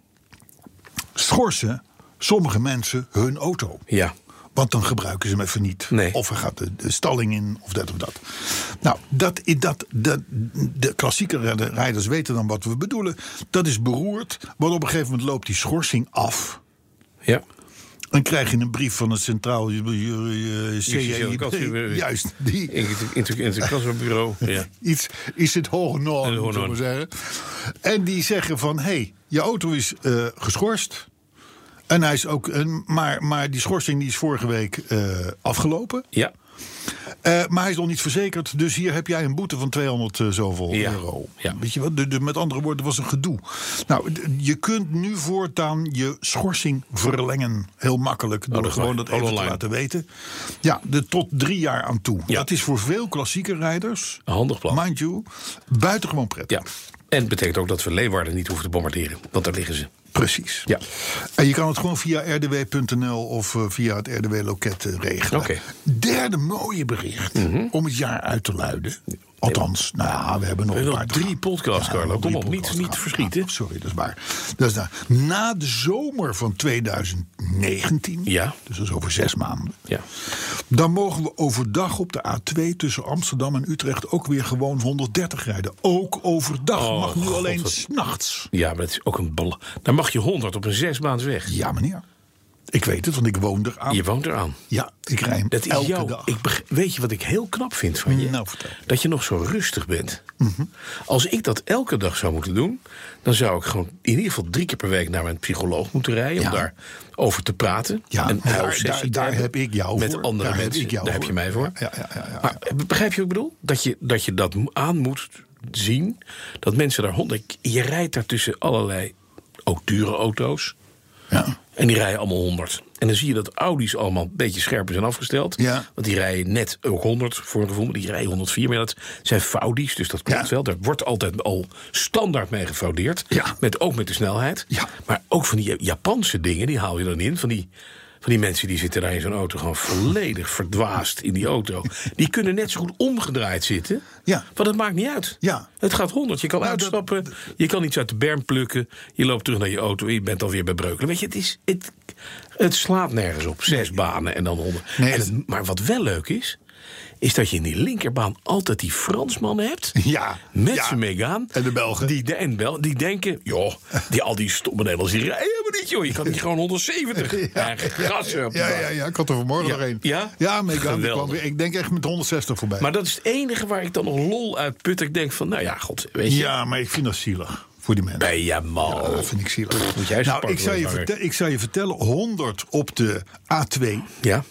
Speaker 2: schorsen sommige mensen hun auto.
Speaker 3: Ja.
Speaker 2: Want dan gebruiken ze hem even niet.
Speaker 3: Nee.
Speaker 2: Of hij gaat de, de stalling in, of dat of dat. Nou, dat, i- dat, dat, de klassieke redder- rijders weten dan wat we bedoelen. Dat is beroerd, want op een gegeven moment loopt die schorsing af.
Speaker 3: ja.
Speaker 2: Dan krijg je een brief van het Centraal eh, eh,
Speaker 3: Justitieel Kansen-
Speaker 2: CJIB. Juist, die,
Speaker 3: eh, In het- in het- in het kassenbureau. Ja.
Speaker 2: iets is het hoge
Speaker 3: Het
Speaker 2: noorden,
Speaker 3: hoge
Speaker 2: moet ik maar zeggen. En die zeggen van, hé, hey, je auto is eh, geschorst. En hij is ook, een, maar, maar die schorsing die is vorige week eh, afgelopen.
Speaker 3: ja.
Speaker 2: Eh, maar hij is nog niet verzekerd, dus hier heb jij een boete van 200 eh, zoveel
Speaker 3: Ja,
Speaker 2: euro.
Speaker 3: ja.
Speaker 2: Weet je wat? De- de- met andere woorden, het was een gedoe. Nou, d- je kunt nu voortaan je schorsing verlengen. Heel makkelijk, door
Speaker 3: dat is
Speaker 2: gewoon
Speaker 3: waar.
Speaker 2: dat even
Speaker 3: Online.
Speaker 2: te laten weten. Ja, de, tot drie jaar aan toe.
Speaker 3: Ja.
Speaker 2: Dat is voor veel klassieke rijders,
Speaker 3: Een handig plan.
Speaker 2: mind you, buitengewoon prettig.
Speaker 3: ja. En het betekent ook dat we Leeuwarden niet hoeven te bombarderen. Want daar liggen ze.
Speaker 2: Precies.
Speaker 3: Ja.
Speaker 2: En je kan het gewoon via rdw.nl of eh, via het RDW-loket eh, regelen.
Speaker 3: Oké. Mhm.
Speaker 2: Derde mooie bericht om het jaar uit te luiden. Althans, nou ja, we hebben nog
Speaker 3: hebben
Speaker 2: een paar
Speaker 3: nog
Speaker 2: te
Speaker 3: drie
Speaker 2: gaan.
Speaker 3: podcasts,
Speaker 2: we hebben
Speaker 3: Carlo. nog Kom drie op, niet-
Speaker 2: podcasts
Speaker 3: niet
Speaker 2: te
Speaker 3: verschieten.
Speaker 2: gaan. sorry, dat is waar. Dat is waar. Na de zomer van 2019,
Speaker 3: Ja.
Speaker 2: dus dat is over zes maanden...
Speaker 3: Ja.
Speaker 2: dan mogen we overdag op de A2 tussen Amsterdam en Utrecht... ook weer gewoon 130 rijden. Ook overdag,
Speaker 3: Oh,
Speaker 2: mag nu
Speaker 3: God,
Speaker 2: alleen
Speaker 3: wat-
Speaker 2: s'nachts.
Speaker 3: Ja, maar dat is ook een bal. Daar mag je 100 op een zes maand weg.
Speaker 2: Ja, meneer. Ik weet het, want ik woon eraan.
Speaker 3: Je woont eraan.
Speaker 2: Ja, ik rij hem
Speaker 3: Dat is
Speaker 2: elke
Speaker 3: jou.
Speaker 2: dag.
Speaker 3: Ik beg- weet je wat ik heel knap vind van je?
Speaker 2: Nou, vertel. Mhm.
Speaker 3: Dat je nog zo rustig bent. Als ik dat elke dag zou moeten doen, dan zou ik gewoon in ieder geval drie keer per week naar mijn psycholoog moeten rijden om
Speaker 2: Ja.
Speaker 3: daarover te praten.
Speaker 2: Ja,
Speaker 3: Een
Speaker 2: maar daar-
Speaker 3: huilsessie
Speaker 2: daar-
Speaker 3: te
Speaker 2: daar
Speaker 3: hebben
Speaker 2: heb ik jou
Speaker 3: met
Speaker 2: voor.
Speaker 3: andere
Speaker 2: Daar heb
Speaker 3: mensen.
Speaker 2: ik jou
Speaker 3: daar heb je
Speaker 2: voor.
Speaker 3: mij voor.
Speaker 2: Ja, ja, ja, ja,
Speaker 3: maar begrijp je wat ik bedoel? Dat je dat, je dat aan moet zien. Dat mensen daar honderd. Je rijdt daar tussen allerlei ook dure auto's.
Speaker 2: Ja.
Speaker 3: En die rijden allemaal 100. En dan zie je dat Audi's allemaal een beetje scherper zijn afgesteld.
Speaker 2: Ja.
Speaker 3: Want die rijden net ook 100 voor een gevoel. maar Die rijden 104. Maar dat zijn Faudi's, dus dat klopt
Speaker 2: Ja.
Speaker 3: wel. Daar wordt altijd al standaard mee gefaudeerd.
Speaker 2: Ja.
Speaker 3: Met, ook met de snelheid.
Speaker 2: Ja.
Speaker 3: Maar ook van die Japanse dingen, die haal je dan in. Van die van die mensen die zitten daar in zo'n auto gewoon volledig verdwaasd in die auto. Die kunnen net zo goed omgedraaid zitten.
Speaker 2: Ja.
Speaker 3: Want het maakt niet uit.
Speaker 2: Ja.
Speaker 3: Het gaat honderd. Je kan
Speaker 2: Nou, dat-
Speaker 3: uitstappen. je kan iets uit de berm plukken. Je loopt terug naar je auto. en Je bent alweer bij Breukelen. Weet je, het, is, het, het slaat nergens op. Zes banen en dan honderd.
Speaker 2: Nee,
Speaker 3: En het-
Speaker 2: het-
Speaker 3: maar wat wel leuk is. Is dat je in die linkerbaan altijd die Fransmannen hebt.
Speaker 2: Ja,
Speaker 3: Met
Speaker 2: ja.
Speaker 3: zijn Megaan.
Speaker 2: En de Belgen.
Speaker 3: Die, de, en Bel, die denken, joh, die, al die stomme Nederlanders die rijden helemaal niet, joh. Je kan niet gewoon 170 ja, gas op.
Speaker 2: Ja, ja, ja, ik had er vanmorgen
Speaker 3: Ja.
Speaker 2: nog één.
Speaker 3: Ja?
Speaker 2: Ja, maar ik, kwam-
Speaker 3: Geweldig.
Speaker 2: weer- ik denk echt met 160 voorbij.
Speaker 3: Maar dat is het enige waar ik dan nog lol uit put. Ik denk van, nou ja, god, weet je.
Speaker 2: ja, maar ik vind dat zielig voor die mensen.
Speaker 3: Ben je mal.
Speaker 2: Dat vind ik zielig.
Speaker 3: Moet jij eens
Speaker 2: nou,
Speaker 3: pakken,
Speaker 2: ik zou, je
Speaker 3: hoor, Mark.
Speaker 2: vertel- ik zou je vertellen, 100 op de A2
Speaker 3: Ja.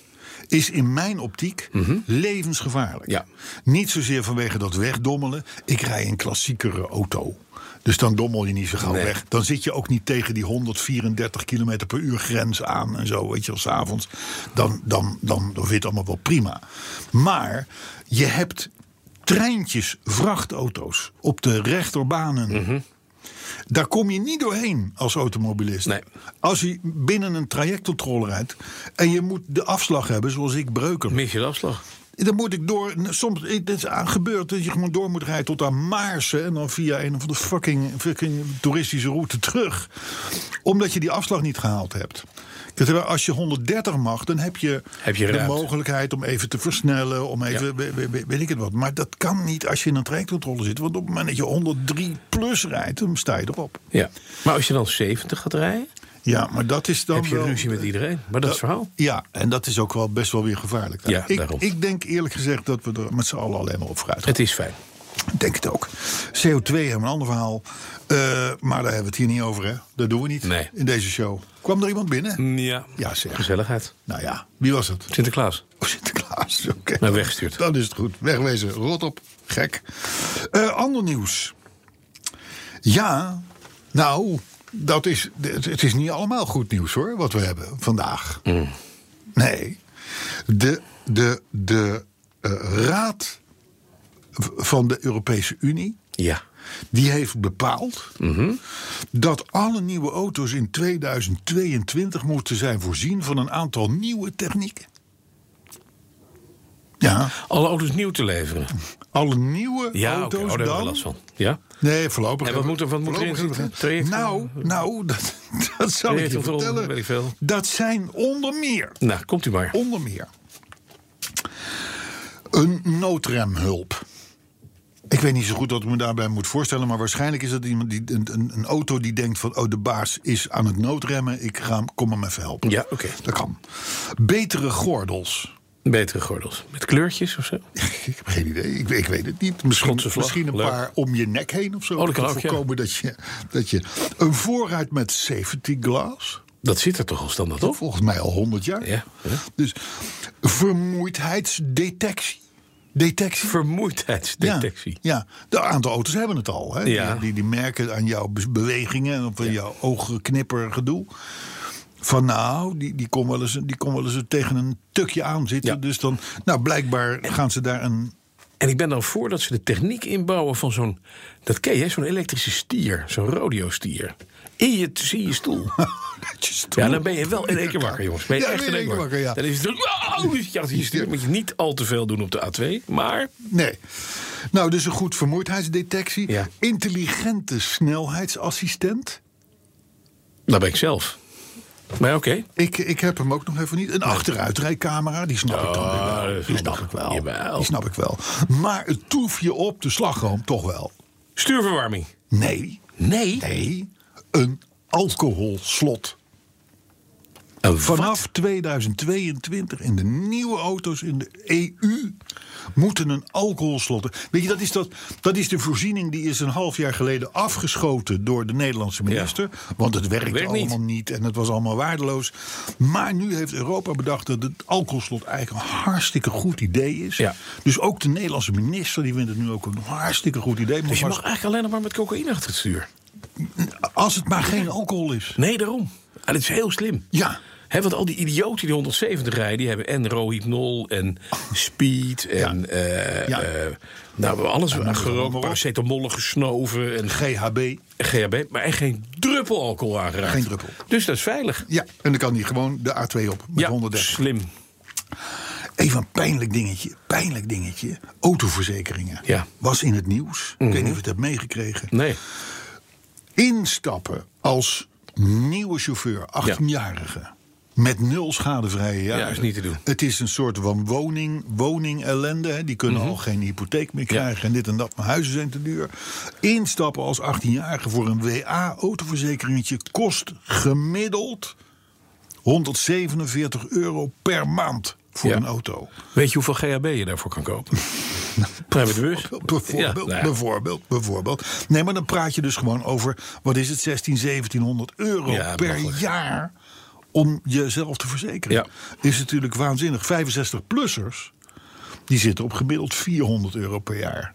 Speaker 2: is in mijn optiek levensgevaarlijk.
Speaker 3: Mhm. Ja.
Speaker 2: Niet zozeer vanwege dat wegdommelen. Ik rij een klassiekere auto. Dus dan dommel je niet zo gauw
Speaker 3: Nee.
Speaker 2: weg. Dan zit je ook niet tegen die 134 km per uur grens aan en zo, weet je wel, s'avonds. Dan, dan, dan, dan vind je het allemaal wel prima. Maar je hebt treintjes, vrachtauto's op de rechterbanen.
Speaker 3: Mhm.
Speaker 2: Daar kom je niet doorheen als automobilist.
Speaker 3: Nee.
Speaker 2: Als je binnen een trajectcontrole rijdt en je moet de afslag hebben, zoals ik breuker.
Speaker 3: Mis je de afslag.
Speaker 2: Dan moet ik door. nou, Soms dit is aan gebeurd dat je gewoon door moet rijden tot aan Maarsen. En dan via een of de fucking, fucking toeristische route terug. Omdat je die afslag niet gehaald hebt. Terwijl Als je 130 mag, dan heb je,
Speaker 3: Heb je
Speaker 2: de
Speaker 3: ruimte.
Speaker 2: mogelijkheid om even te versnellen. Om even,
Speaker 3: Ja.
Speaker 2: we- we- we- weet ik het wat. Maar dat kan niet als je in een trajectcontrole zit. Want op het moment dat je 103 plus rijdt, dan sta je erop.
Speaker 3: Ja. Maar als je dan 70 gaat rijden,
Speaker 2: Ja, maar dat is dan
Speaker 3: heb je
Speaker 2: wel-
Speaker 3: ruzie met iedereen. Maar dat is het verhaal.
Speaker 2: Ja, en dat is ook wel best wel weer gevaarlijk.
Speaker 3: Ja,
Speaker 2: ik,
Speaker 3: daarom.
Speaker 2: ik denk eerlijk gezegd dat we er met z'n allen alleen maar op vooruit gaan.
Speaker 3: Het is fijn.
Speaker 2: Ik denk het ook. CO2 hebben we een ander verhaal. Eh, maar daar hebben we het hier niet over, hè? Dat doen we niet
Speaker 3: Nee.
Speaker 2: in deze show. Kwam er iemand binnen?
Speaker 3: Ja.
Speaker 2: Ja, zeg.
Speaker 3: Gezelligheid.
Speaker 2: Nou ja, wie was het?
Speaker 3: Sinterklaas.
Speaker 2: Oh, Sinterklaas. Oké.
Speaker 3: Nou, weggestuurd.
Speaker 2: Dan is het goed. Wegwezen. Rot op. Gek. Eh, ander nieuws. Ja, nou, dat is, het, het is niet allemaal goed nieuws hoor, wat we hebben vandaag. Nee. De, de, de eh, Raad v- van de Europese Unie
Speaker 3: Ja.
Speaker 2: die heeft bepaald dat alle nieuwe auto's in 2022 moeten zijn voorzien van een aantal nieuwe technieken. Ja,
Speaker 3: Alle auto's nieuw te leveren.
Speaker 2: alle nieuwe
Speaker 3: Ja, oké.
Speaker 2: auto's
Speaker 3: Oh, daar hebben we
Speaker 2: dan.
Speaker 3: last van. Ja.
Speaker 2: Nee, voorlopig.
Speaker 3: En wat
Speaker 2: hebben-
Speaker 3: moet er- wat moet erin
Speaker 2: voorlopig
Speaker 3: zitten?
Speaker 2: hebben we-
Speaker 3: Traject-
Speaker 2: Nou, nou, dat, dat zal ik
Speaker 3: Traject
Speaker 2: je
Speaker 3: of eronder,
Speaker 2: vertellen.
Speaker 3: weet ik veel.
Speaker 2: Dat zijn onder meer,
Speaker 3: Nou, komt u maar.
Speaker 2: onder meer, een noodremhulp. Ik weet niet zo goed wat ik me daarbij moet voorstellen, maar waarschijnlijk is dat iemand die een, een, een auto die denkt van, oh de baas is aan het noodremmen, ik ga hem, kom hem even helpen.
Speaker 3: Ja, oké.
Speaker 2: Dat kan. Betere gordels.
Speaker 3: Betere gordels. Met kleurtjes of zo.
Speaker 2: Ik heb geen idee. Ik, weet- ik weet het niet. Misschien,
Speaker 3: Schotse vlag,
Speaker 2: misschien een
Speaker 3: leuk.
Speaker 2: paar om je nek heen of zo.
Speaker 3: Oh, dat kan
Speaker 2: Om te
Speaker 3: ook, ja.
Speaker 2: voorkomen dat, je, dat je. Een voorruit met safety glass.
Speaker 3: Dat zit er toch al standaard op?
Speaker 2: Volgens mij al 100 jaar.
Speaker 3: Ja, ja.
Speaker 2: Dus vermoeidheidsdetectie. Detectie.
Speaker 3: Vermoeidheidsdetectie.
Speaker 2: Ja, ja, de aantal auto's hebben het al. Hè?
Speaker 3: Ja.
Speaker 2: Die, die, die merken aan jouw be- bewegingen en op jouw oogknipper gedoe. Van nou, die, die komen wel eens, die kon wel eens tegen een tukje aan zitten.
Speaker 3: Ja.
Speaker 2: Dus dan, nou blijkbaar gaan ze daar een
Speaker 3: En ik ben dan voor dat ze de techniek inbouwen van zo'n... Dat ken je, hè, zo'n elektrische stier. Zo'n rodeo-stier. In je, in je stoel. Ja, dan ben je wel in één keer wakker, jongens. Ben je
Speaker 2: Ja,
Speaker 3: echt
Speaker 2: ben
Speaker 3: in één keer wakker,
Speaker 2: ja.
Speaker 3: Dan is het... Wow, dus je achter je stuur. moet je niet al te veel doen op de A2. Maar
Speaker 2: Nee. Nou, dus een goed vermoeidheidsdetectie.
Speaker 3: Ja.
Speaker 2: Intelligente snelheidsassistent.
Speaker 3: dat ben ik zelf. Maar oké.
Speaker 2: Ik, ik heb hem ook nog even niet. Een achteruitrijcamera, die snap ik dan weer
Speaker 3: Ah,
Speaker 2: wel.
Speaker 3: dat
Speaker 2: Die
Speaker 3: snap
Speaker 2: snap ik
Speaker 3: ik.
Speaker 2: wel.
Speaker 3: Jawel.
Speaker 2: Die snap ik wel. Maar het toef je op de slagroom toch wel.
Speaker 3: Stuurverwarming.
Speaker 2: Nee.
Speaker 3: Nee.
Speaker 2: Nee. Een alcoholslot.
Speaker 3: Een
Speaker 2: Vanaf
Speaker 3: wat?
Speaker 2: 2022 in de nieuwe auto's in de EU moeten een alcoholslot. Weet je, dat is, dat, dat is de voorziening die is een half jaar geleden afgeschoten door de Nederlandse minister. Want het werkte
Speaker 3: Werkt niet.
Speaker 2: allemaal niet. en het was allemaal waardeloos. Maar nu heeft Europa bedacht dat het alcoholslot eigenlijk een hartstikke goed idee is.
Speaker 3: Ja.
Speaker 2: Dus ook de Nederlandse minister die vindt het nu ook een hartstikke goed idee. Maar
Speaker 3: Dus je mag
Speaker 2: als,
Speaker 3: eigenlijk alleen nog maar met cocaïne achter het stuur.
Speaker 2: als het maar geen alcohol is.
Speaker 3: Nee, daarom. En dat Ah, is heel slim.
Speaker 2: Ja.
Speaker 3: Hè, want al die idioten die 170 rijden, die hebben en rohypnol en speed en eh,
Speaker 2: Ja.
Speaker 3: eh, nou, alles
Speaker 2: allemaal
Speaker 3: gerookt,
Speaker 2: op.
Speaker 3: paracetamol gesnoven en
Speaker 2: GHB.
Speaker 3: GHB, maar echt geen druppel alcohol aangeraakt.
Speaker 2: Geen druppel.
Speaker 3: Dus dat is veilig.
Speaker 2: Ja, en dan kan hij gewoon de A2 op met
Speaker 3: ja,
Speaker 2: 130.
Speaker 3: slim.
Speaker 2: Even een pijnlijk dingetje, pijnlijk dingetje. Autoverzekeringen.
Speaker 3: Ja.
Speaker 2: Was in het nieuws. Ik weet niet of je het hebt meegekregen.
Speaker 3: Nee.
Speaker 2: Instappen als nieuwe chauffeur, 18-jarige. Met nul schadevrije jaren.
Speaker 3: Ja, is niet te doen.
Speaker 2: Het is een soort van woning, woning Die kunnen
Speaker 3: Mhm.
Speaker 2: al geen hypotheek meer krijgen en dit en dat. Maar huizen zijn te duur. Instappen als 18-jarige voor een WA-autoverzekeringetje kost gemiddeld 147 euro per maand voor
Speaker 3: Ja.
Speaker 2: een auto.
Speaker 3: Weet je hoeveel GHB je daarvoor kan kopen? Private bus?
Speaker 2: Bijvoorbeeld,
Speaker 3: Ja, nou ja.
Speaker 2: bijvoorbeeld, bijvoorbeeld. Nee, maar dan praat je dus gewoon over, wat is het, 16, 1700 euro
Speaker 3: Ja,
Speaker 2: per
Speaker 3: belachelijk.
Speaker 2: jaar om jezelf te verzekeren.
Speaker 3: Ja.
Speaker 2: Is natuurlijk waanzinnig. 65-plussers, die zitten op gemiddeld 400 euro per jaar.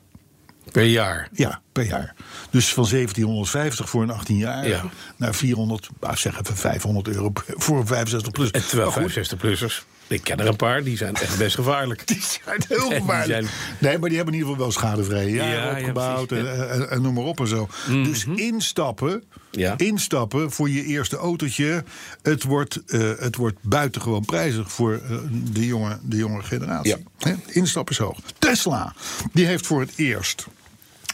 Speaker 3: Per jaar.
Speaker 2: Ja, per jaar. Dus van 1750 voor een 18 jaar
Speaker 3: Ja.
Speaker 2: naar 400, nou zeggen we 500 euro per- voor een 65 plus.
Speaker 3: En terwijl
Speaker 2: Maar goed,
Speaker 3: 65-plussers, ik ken er een paar, die zijn echt best gevaarlijk.
Speaker 2: Die zijn heel
Speaker 3: Nee, die
Speaker 2: gevaarlijk. Nee, maar die hebben in ieder geval wel schadevrije jaren
Speaker 3: Ja, ja,
Speaker 2: opgebouwd.
Speaker 3: precies. Mhm.
Speaker 2: en, en, en noem maar op en zo. Dus instappen,
Speaker 3: Ja.
Speaker 2: instappen voor je eerste autootje. Het wordt, eh, het wordt buitengewoon prijzig voor eh, de, jonge, de jonge generatie. Hè, Instappen is hoog. Tesla, die heeft voor het eerst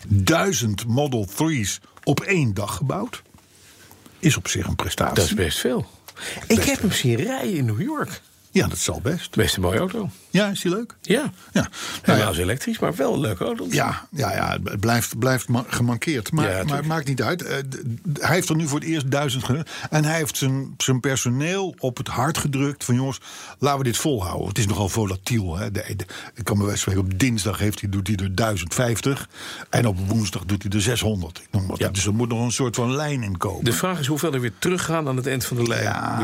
Speaker 2: duizend Model 3's op één dag gebouwd. Is op zich een prestatie.
Speaker 3: Dat is best veel. Ik heb hem zien rijden in New York.
Speaker 2: Ja, dat zal best.
Speaker 3: Best een mooie auto.
Speaker 2: Ja, is die leuk?
Speaker 3: Ja.
Speaker 2: Ja.
Speaker 3: Nou,
Speaker 2: Nou
Speaker 3: is elektrisch, maar wel een leuke auto.
Speaker 2: Ja, ja, ja het blijft, blijft ma- gemankeerd. Maar,
Speaker 3: Ja, tuurlijk.
Speaker 2: maar maakt niet uit. Eh, d- d- Hij heeft er nu voor het eerst duizend gedaan. En hij heeft zijn, zijn personeel op het hart gedrukt. Van jongens, laten we dit volhouden. Het is nogal volatiel. Hè? De, de- ik kan me best spreken, op dinsdag heeft hij, doet hij er 1050. En op woensdag doet hij er 600. Ik noem wat.
Speaker 3: Ja.
Speaker 2: Dus er moet nog een soort van lijn in komen.
Speaker 3: De vraag is hoeveel er weer teruggaan aan het eind van de lijn.
Speaker 2: Ja,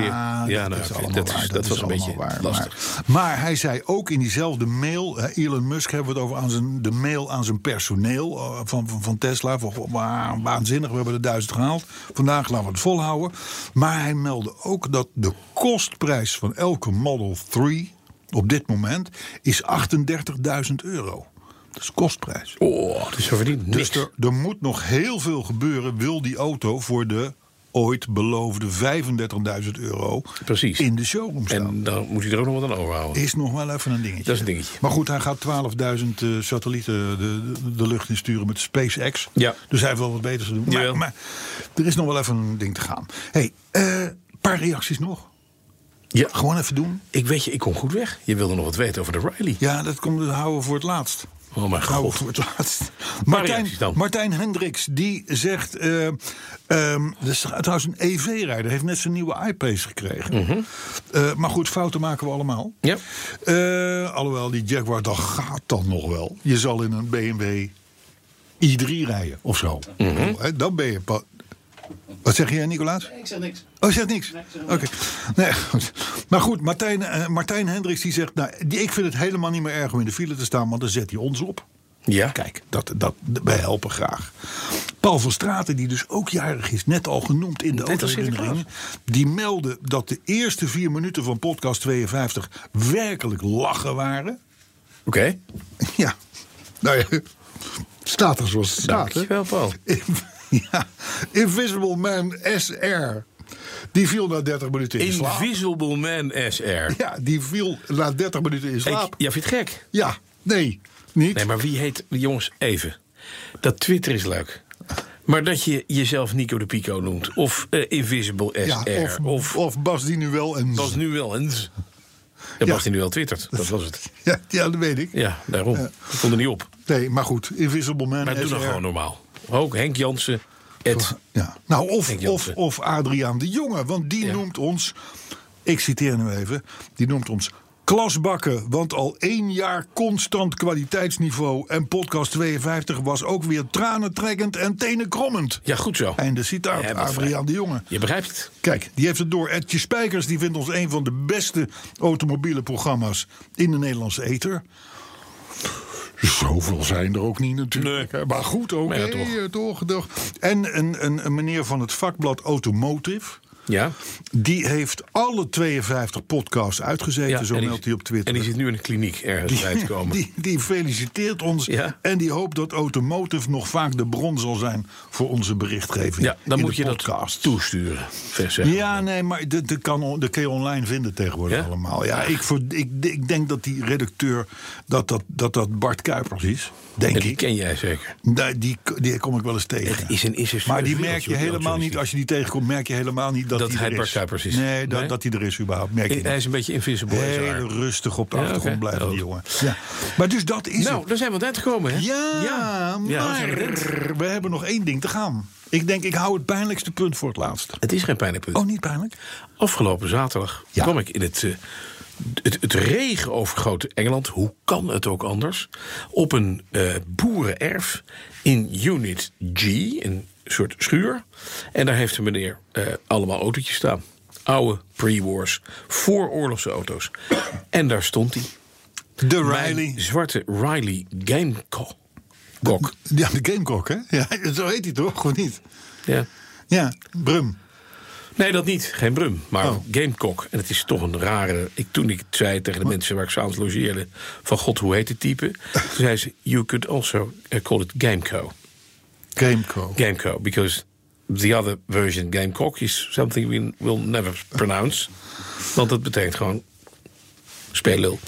Speaker 3: Weer-
Speaker 2: dat
Speaker 3: nou,
Speaker 2: is
Speaker 3: oké,
Speaker 2: allemaal
Speaker 3: dat,
Speaker 2: waar.
Speaker 3: is-
Speaker 2: Dat,
Speaker 3: dat
Speaker 2: is
Speaker 3: was een beetje
Speaker 2: allemaal waar.
Speaker 3: lastig.
Speaker 2: Maar, maar hij zei ook in diezelfde mail... hè, Elon Musk hebben we het over aan zijn, de mail aan zijn personeel eh, van, van, van Tesla. Van, goh, wa- waanzinnig, we hebben de duizend gehaald. Vandaag laten we het volhouden. Maar hij meldde ook dat de kostprijs van elke Model 3... op dit moment is 38.000 euro. Dat is kostprijs.
Speaker 3: Oh, dus ze verdienen niks.
Speaker 2: Dus er, er moet nog heel veel gebeuren. Wil die auto voor de ooit beloofde 35.000 euro
Speaker 3: Precies.
Speaker 2: in de showroom staan?
Speaker 3: en dan moet hij er ook nog wat aan overhouden.
Speaker 2: is nog wel even een dingetje.
Speaker 3: Dat is een dingetje.
Speaker 2: Maar goed, hij gaat 12.000 eh, satellieten de, de, de lucht insturen met SpaceX.
Speaker 3: Ja.
Speaker 2: Dus hij heeft wel wat beters te doen.
Speaker 3: Jawel.
Speaker 2: Maar, maar er is nog wel even een ding te gaan. hey, eh, paar reacties nog.
Speaker 3: Ja.
Speaker 2: Gewoon even doen.
Speaker 3: Ik weet je, ik kom goed weg. Je wilde nog wat weten over de Riley.
Speaker 2: Ja, dat komt dat houden we voor het laatst.
Speaker 3: Oh mijn
Speaker 2: Houden
Speaker 3: god.
Speaker 2: we voor het laatst.
Speaker 3: Maar
Speaker 2: Martijn,
Speaker 3: reacties dan.
Speaker 2: Martijn Hendricks, die zegt... eh, ehm, dat is trouwens een EV-rijder. heeft net zijn nieuwe iPace gekregen. Eh, maar goed, fouten maken we allemaal.
Speaker 3: Ja.
Speaker 2: Eh, alhoewel, die Jaguar, dat gaat dan nog wel. Je zal in een BMW i3 rijden of zo. Hè, Dan ben je... pa- Wat zeg jij, Nicolaas?
Speaker 4: Ik zeg niks.
Speaker 2: Oh, zegt niks?
Speaker 4: Nee, zeg
Speaker 2: Oké.
Speaker 4: maar.
Speaker 2: Nee, goed. Maar goed, Martijn, eh, Martijn Hendricks die zegt... Nou, die, ik vind het helemaal niet meer erg om in de file te staan... want dan zet hij ons op.
Speaker 3: Ja.
Speaker 2: Kijk, dat, dat, wij helpen graag. Paul van Straten, die dus ook jarig is, net al genoemd in de
Speaker 3: Net als
Speaker 2: autoherinnering... die meldde dat de eerste vier minuten van podcast 52 werkelijk lachen waren.
Speaker 3: Oké.
Speaker 2: Ja, nou ja, staat er zoals het staat. hè?
Speaker 3: Dankjewel, Paul.
Speaker 2: Ja, Invisible Man SR. Die viel na 30 minuten in, slaap.
Speaker 3: Invisible Man SR.
Speaker 2: Ja, die viel na 30 minuten in
Speaker 3: Ik,
Speaker 2: slaap.
Speaker 3: ja, vind je het gek?
Speaker 2: Ja, nee, niet.
Speaker 3: Nee, maar wie heet... Jongens, even. Dat Twitter is leuk. Maar dat je jezelf Nico de Pico noemt. Of eh, Invisible
Speaker 2: ja,
Speaker 3: SR.
Speaker 2: of, of, Bas die nu wel en...
Speaker 3: Bas nu wel eens.
Speaker 2: Ja.
Speaker 3: Ja, Bas die nu wel twittert. Dat was het.
Speaker 2: Ja, ja, dat weet ik.
Speaker 3: Ja, daarom. Ik vond er niet op.
Speaker 2: Nee, maar goed, Invisible Man
Speaker 3: Maar
Speaker 2: SR.
Speaker 3: doe dan gewoon normaal. Ook Henk Jansen. Ed.
Speaker 2: Ja. Nou,
Speaker 3: Henk
Speaker 2: of, of,
Speaker 3: Jansen.
Speaker 2: of Adriaan de Jonge, want die
Speaker 3: Ja.
Speaker 2: noemt ons... Ik citeer nu even. Die noemt ons klasbakken, want al één jaar constant kwaliteitsniveau... en podcast 52 was ook weer tranentrekkend en tenenkrommend.
Speaker 3: Ja, goed zo.
Speaker 2: Einde citaat,
Speaker 3: Ja, wat vrij.
Speaker 2: Adriaan de Jonge.
Speaker 3: Je begrijpt het.
Speaker 2: Kijk, die heeft het door. Edje Spijkers die vindt ons een van de beste automobiele programma's in de Nederlandse ether. Zoveel zijn er ook niet natuurlijk.
Speaker 3: Nee.
Speaker 2: Maar goed, oké.
Speaker 3: Maar ja, toch.
Speaker 2: eh, toch, toch. En een, een, een meneer van het vakblad Automotive.
Speaker 3: Ja.
Speaker 2: Die heeft alle 52 podcasts uitgezeten,
Speaker 3: ja,
Speaker 2: zo
Speaker 3: en die-
Speaker 2: meldt hij op Twitter.
Speaker 3: En die zit nu in een kliniek ergens bij te komen.
Speaker 2: Die, die feliciteert ons
Speaker 3: Ja.
Speaker 2: en die hoopt dat Automotive nog vaak de bron zal zijn voor onze berichtgeving.
Speaker 3: ja, dan
Speaker 2: in
Speaker 3: moet
Speaker 2: de
Speaker 3: je
Speaker 2: podcast.
Speaker 3: dat toesturen. Vers zeggen.
Speaker 2: Ja, nee, maar dat dat kan, on- dat kun je online vinden tegenwoordig
Speaker 3: Ja?
Speaker 2: allemaal. Ja, ik, voor, ik, ik denk dat die redacteur, dat dat, dat, dat Bart Kuipers is, denk
Speaker 3: En die
Speaker 2: ik.
Speaker 3: ken jij zeker.
Speaker 2: Nee, die, die kom ik wel eens tegen.
Speaker 3: Het is een- is een
Speaker 2: maar die
Speaker 3: wereldje
Speaker 2: merk je
Speaker 3: wat die
Speaker 2: helemaal
Speaker 3: auto
Speaker 2: niet, als je die tegenkomt, merk je helemaal niet dat,
Speaker 3: Dat
Speaker 2: die
Speaker 3: hij
Speaker 2: er
Speaker 3: Bart
Speaker 2: is.
Speaker 3: Kuipers is.
Speaker 2: Nee, dat,
Speaker 3: Nee?
Speaker 2: dat hij er is überhaupt, merk je niet.
Speaker 3: Hij is een beetje invisible. is
Speaker 2: Heel
Speaker 3: waar.
Speaker 2: rustig op de
Speaker 3: Ja,
Speaker 2: achtergrond
Speaker 3: oké.
Speaker 2: blijven, die
Speaker 3: Oh.
Speaker 2: jongen. Ja. Maar dus dat is
Speaker 3: Nou,
Speaker 2: het.
Speaker 3: daar zijn we aan het eind gekomen, hè?
Speaker 2: Ja,
Speaker 3: Ja, we
Speaker 2: maar
Speaker 3: zijn rent.
Speaker 2: we hebben nog één ding te gaan. Ik denk, ik hou het pijnlijkste punt voor het laatst.
Speaker 3: Het is geen pijnlijk punt.
Speaker 2: Oh, niet pijnlijk?
Speaker 3: Afgelopen zaterdag
Speaker 2: Ja.
Speaker 3: kwam ik in het, eh, het, het regenovergrote Engeland, hoe kan het ook anders, op een eh, boerenerf in Unit G, een soort schuur. En daar heeft de meneer eh, allemaal autootjes staan. Oude pre-wars, vooroorlogse auto's. en daar stond hij.
Speaker 2: De
Speaker 3: Mijn
Speaker 2: Riley.
Speaker 3: zwarte Riley Gamecock. Gok.
Speaker 2: Ja, de Gamecock, hè? Ja, zo heet hij toch, of niet?
Speaker 3: Ja.
Speaker 2: Ja, Brum.
Speaker 3: Nee, dat niet. Geen Brum, maar
Speaker 2: Oh.
Speaker 3: Gamecock. En het is toch een rare... Ik, toen ik het zei tegen de mensen waar ik s'avonds logeerde... van god, hoe heet het type? Toen zei ze, you could also eh, call it Gameco.
Speaker 2: Gamecock.
Speaker 3: Gameco, because the other version, Gamecock... is something we will never pronounce. Want dat betekent gewoon speellul.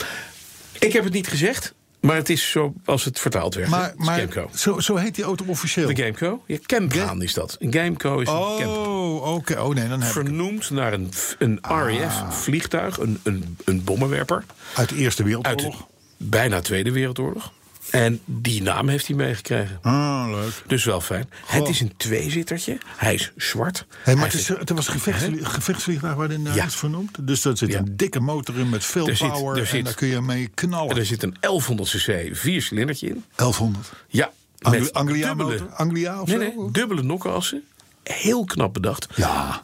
Speaker 3: Ik heb het niet gezegd, maar het is zoals het vertaald werd. hè?
Speaker 2: Maar,
Speaker 3: Het is
Speaker 2: maar
Speaker 3: Gameco.
Speaker 2: zo, zo heet die auto officieel.
Speaker 3: De Gameco? Ja, Campgaan is dat. Een Gameco is een camper.
Speaker 2: Oh, oké. Oh, nee, dan heb ik Ah.
Speaker 3: Vernoemd naar een, een RAF-vliegtuig, een, een, een bommenwerper.
Speaker 2: het. Uit de Eerste
Speaker 3: Uit
Speaker 2: Wereldoorlog.
Speaker 3: de bijna Tweede Wereldoorlog. En die naam heeft hij meegekregen.
Speaker 2: Ah, leuk.
Speaker 3: Dus wel fijn. Het is een tweezittertje. Hij is zwart.
Speaker 2: Hey, maar
Speaker 3: Hij
Speaker 2: het, is,
Speaker 3: heeft-
Speaker 2: het was een gevechtsvlie- gevechtsvliegtuig waarin dat
Speaker 3: Ja.
Speaker 2: is vernoemd. Dus daar zit
Speaker 3: Ja.
Speaker 2: een dikke motor in met veel
Speaker 3: Er zit-
Speaker 2: power.
Speaker 3: er
Speaker 2: en
Speaker 3: zit-
Speaker 2: daar kun je mee knallen.
Speaker 3: en er zit een 1100cc viercilindertje in.
Speaker 2: 1100.
Speaker 3: Ja,
Speaker 2: Angli-
Speaker 3: met
Speaker 2: Anglia
Speaker 3: dubbele-
Speaker 2: motor? Anglia of
Speaker 3: nee,
Speaker 2: zo?
Speaker 3: nee, dubbele nokkenassen. Heel knap bedacht.
Speaker 2: Ja.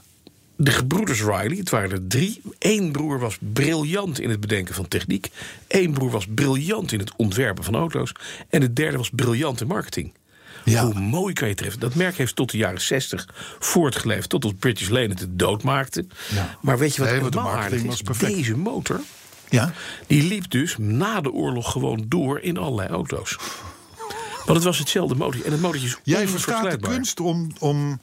Speaker 3: De gebroeders Riley, het waren er drie. Eén broer was briljant in het bedenken van techniek. Eén broer was briljant in het ontwerpen van auto's. En de derde was briljant in marketing.
Speaker 2: Ja.
Speaker 3: Hoe mooi kan je treffen. Dat merk heeft tot de jaren 60 voortgeleefd. Tot ons British Lane het dood maakte.
Speaker 2: Ja.
Speaker 3: Maar weet je wat
Speaker 2: Nee, want de
Speaker 3: helemaal
Speaker 2: marketing
Speaker 3: aardig is?
Speaker 2: was perfect.
Speaker 3: Deze motor
Speaker 2: Ja.
Speaker 3: die liep dus na de oorlog gewoon door in allerlei auto's. Want het was hetzelfde motor. En het motortje is
Speaker 2: Jij verstaat de
Speaker 3: onvergelijkbaar.
Speaker 2: kunst om, om,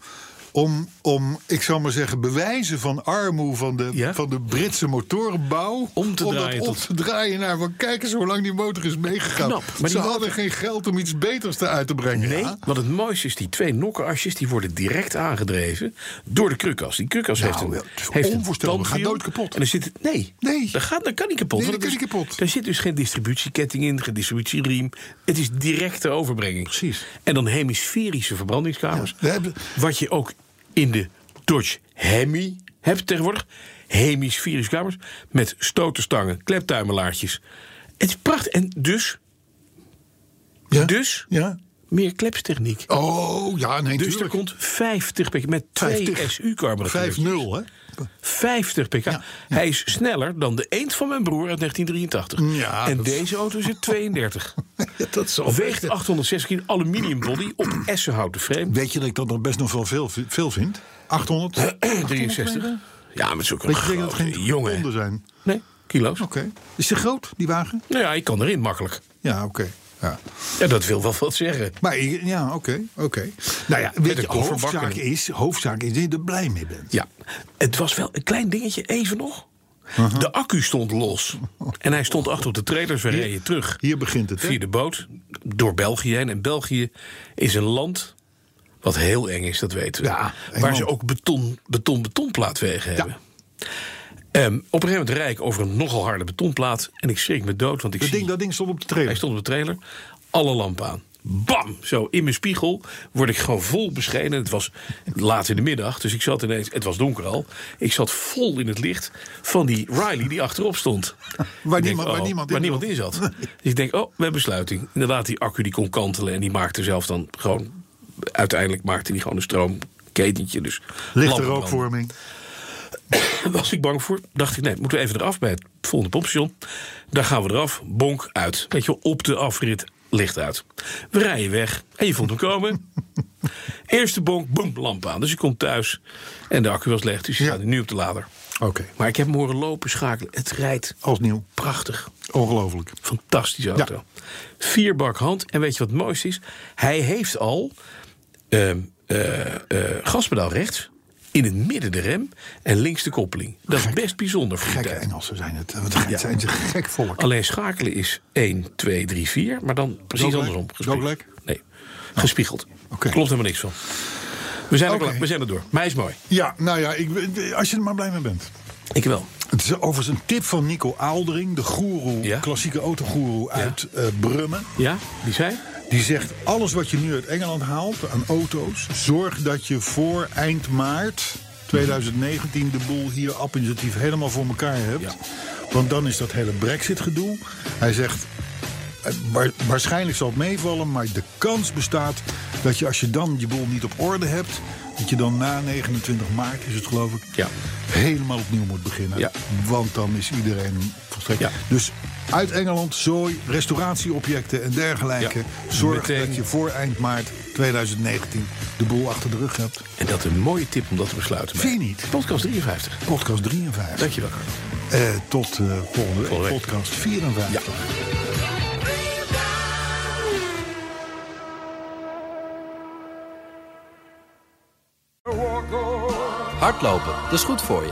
Speaker 2: om, om, ik zou maar zeggen, bewijzen van armoe van de,
Speaker 3: Ja?
Speaker 2: van de Britse motorenbouw.
Speaker 3: Om te
Speaker 2: dat
Speaker 3: draaien
Speaker 2: om
Speaker 3: tot-
Speaker 2: te draaien naar, want kijk eens hoe lang die motor is meegegaan.
Speaker 3: Knap, maar die
Speaker 2: Ze
Speaker 3: motor-
Speaker 2: hadden geen geld om iets beters eruit te brengen.
Speaker 3: Nee,
Speaker 2: ja?
Speaker 3: want het mooiste is die twee nokkenasjes... die worden direct aangedreven door de krukas. Die krukas
Speaker 2: Nou,
Speaker 3: heeft een,
Speaker 2: ja, het is
Speaker 3: heeft een
Speaker 2: onvoorstelbaar.
Speaker 3: tandwiel
Speaker 2: Gaat nooit kapot.
Speaker 3: En er zit, het- nee,
Speaker 2: Nee.
Speaker 3: Dat, gaat, dat kan niet kapot.
Speaker 2: Nee,
Speaker 3: want
Speaker 2: dat
Speaker 3: het
Speaker 2: kan
Speaker 3: is-
Speaker 2: niet kapot.
Speaker 3: Daar zit dus geen distributieketting in, geen distributieriem. Het is directe overbrenging.
Speaker 2: Precies.
Speaker 3: En dan hemisferische verbrandingskamers.
Speaker 2: we hebben-
Speaker 3: Wat je ook in de Dodge Hemi hebt tegenwoordig. Hemisferische kamers met stotenstangen, kleptuimelaartjes. Het is prachtig. En dus
Speaker 2: Ja?
Speaker 3: Dus?
Speaker 2: Ja.
Speaker 3: meer klepstechniek.
Speaker 2: Oh, ja, nee,
Speaker 3: Dus er
Speaker 2: tuurlijk.
Speaker 3: komt 50 pk met 2
Speaker 2: 50.
Speaker 3: SU-carburateurs.
Speaker 2: 5-0, hè?
Speaker 3: 50 pk. Hij is sneller dan de eend van mijn broer uit 1983.
Speaker 2: Ja,
Speaker 3: en
Speaker 2: dat-
Speaker 3: deze auto zit 32.
Speaker 2: Ja, dat zal
Speaker 3: Weegt 860 kilo, aluminium body op essenhouten frame.
Speaker 2: Weet je dat ik dat nog best nog wel veel, veel vind? 800?
Speaker 3: 63. Ja, met zo'n
Speaker 2: Weet je denk dat het
Speaker 3: grote
Speaker 2: geen
Speaker 3: jongen.
Speaker 2: honden zijn?
Speaker 3: Nee, kilo's.
Speaker 2: Oké. Is die groot, die wagen?
Speaker 3: Nou ja, ik kan erin makkelijk.
Speaker 2: Ja, oké. Ja.
Speaker 3: Ja, dat wil wel wat zeggen.
Speaker 2: Maar ik- ja, oké, oké. Nou ja, weet
Speaker 3: een
Speaker 2: je,
Speaker 3: koffer
Speaker 2: hoofdzaak
Speaker 3: bakken.
Speaker 2: is, hoofdzaak is dat je er blij mee bent.
Speaker 3: Ja, het was wel een klein dingetje, even nog.
Speaker 2: Uh-huh.
Speaker 3: De accu stond los. En hij stond achter op de trailers. We reden terug.
Speaker 2: hier begint het, hè?
Speaker 3: Via de boot, door België heen. En België is een land wat heel eng is, dat weten we.
Speaker 2: Ja, eng
Speaker 3: waar
Speaker 2: land.
Speaker 3: ze ook beton, beton, betonplaatwegen hebben. Ehm, op een gegeven moment rijd ik over een nogal harde betonplaat. En ik schrik me dood, want ik
Speaker 2: Dat,
Speaker 3: zie...
Speaker 2: ding, dat ding stond op de
Speaker 3: Hij
Speaker 2: trailer.
Speaker 3: stond op de trailer. Alle lampen aan. Bam! Zo in mijn spiegel word ik gewoon vol beschenen. Het was laat in de middag, dus ik zat ineens. Het was donker al. Ik zat vol in het licht van die Riley die achterop stond.
Speaker 2: Waar,
Speaker 3: Ik
Speaker 2: niemand,
Speaker 3: denk,
Speaker 2: waar,
Speaker 3: oh,
Speaker 2: niemand,
Speaker 3: waar
Speaker 2: in
Speaker 3: niemand in zat. Dus ik denk, oh, we hebben sluiting. Inderdaad, die accu die kon kantelen en die maakte zelf dan gewoon. Uiteindelijk maakte die gewoon een stroomketentje. Dus
Speaker 2: Lichte
Speaker 3: lampen branden.
Speaker 2: rookvorming.
Speaker 3: was ik bang voor. Dacht ik, nee, moeten we even eraf bij het volgende popstation. Daar gaan we eraf, bonk, uit. Weet je, wel, op de afrit licht uit. We rijden weg en je voelt hem komen. Eerste bonk, boem, lamp aan. Dus je komt thuis en de accu was leeg. Dus je
Speaker 2: Ja.
Speaker 3: staat nu op de lader.
Speaker 2: Oké,
Speaker 3: Maar ik heb hem horen lopen, schakelen. Het rijdt
Speaker 2: als nieuw.
Speaker 3: prachtig.
Speaker 2: Ongelooflijk.
Speaker 3: Fantastische auto. Vierbak hand. En weet je wat het mooiste is? Hij heeft al ehm, eh, eh, gaspedaal rechts. In het midden de rem en links de koppeling. Dat is best bijzonder voor die
Speaker 2: Gekke
Speaker 3: tijd.
Speaker 2: Engelsen zijn het. Wat zijn- zijn ze gek volk.
Speaker 3: Alleen schakelen is 1, 2, 3, 4. Maar dan precies
Speaker 2: Dogleg?
Speaker 3: andersom. Gespiegeld.
Speaker 2: Dogleg?
Speaker 3: Nee, gespiegeld.
Speaker 2: Oké.
Speaker 3: Klopt helemaal niks van. We zijn, er
Speaker 2: Oké.
Speaker 3: klaar. we zijn er door. Maar hij is mooi.
Speaker 2: Ja, nou ja, ik, als je er maar blij mee bent.
Speaker 3: Ik wel.
Speaker 2: Het is overigens een tip van Nico Aaldering, de goeroe,
Speaker 3: Ja.
Speaker 2: klassieke autogoeroe uit eh, Brummen.
Speaker 3: Ja, die zijn?
Speaker 2: Die zegt, alles wat je nu uit Engeland haalt aan auto's... zorg dat je voor eind maart 2019 de boel hier administratief helemaal voor elkaar hebt.
Speaker 3: Ja.
Speaker 2: Want dan is dat hele brexit gedoe. Hij zegt, eh, waar- waarschijnlijk zal het meevallen... maar de kans bestaat dat je als je dan je boel niet op orde hebt... dat je dan na 29 maart, is het geloof ik...
Speaker 3: Ja.
Speaker 2: helemaal opnieuw moet beginnen.
Speaker 3: Ja.
Speaker 2: Want dan is iedereen volstrekt...
Speaker 3: Ja.
Speaker 2: Dus uit Engeland, zooi, restauratieobjecten en dergelijke...
Speaker 3: Ja.
Speaker 2: Zorg
Speaker 3: Meteen.
Speaker 2: dat je voor eind maart 2019 de boel achter de rug hebt.
Speaker 3: En dat is een mooie tip om dat te besluiten.
Speaker 2: Vind je niet?
Speaker 3: Podcast 53.
Speaker 2: Podcast 53.
Speaker 3: Dankjewel, Carlo.
Speaker 2: Eh, tot eh, volgende week.
Speaker 3: Volgende week.
Speaker 2: Podcast 54.
Speaker 7: Hardlopen, dat is goed voor je.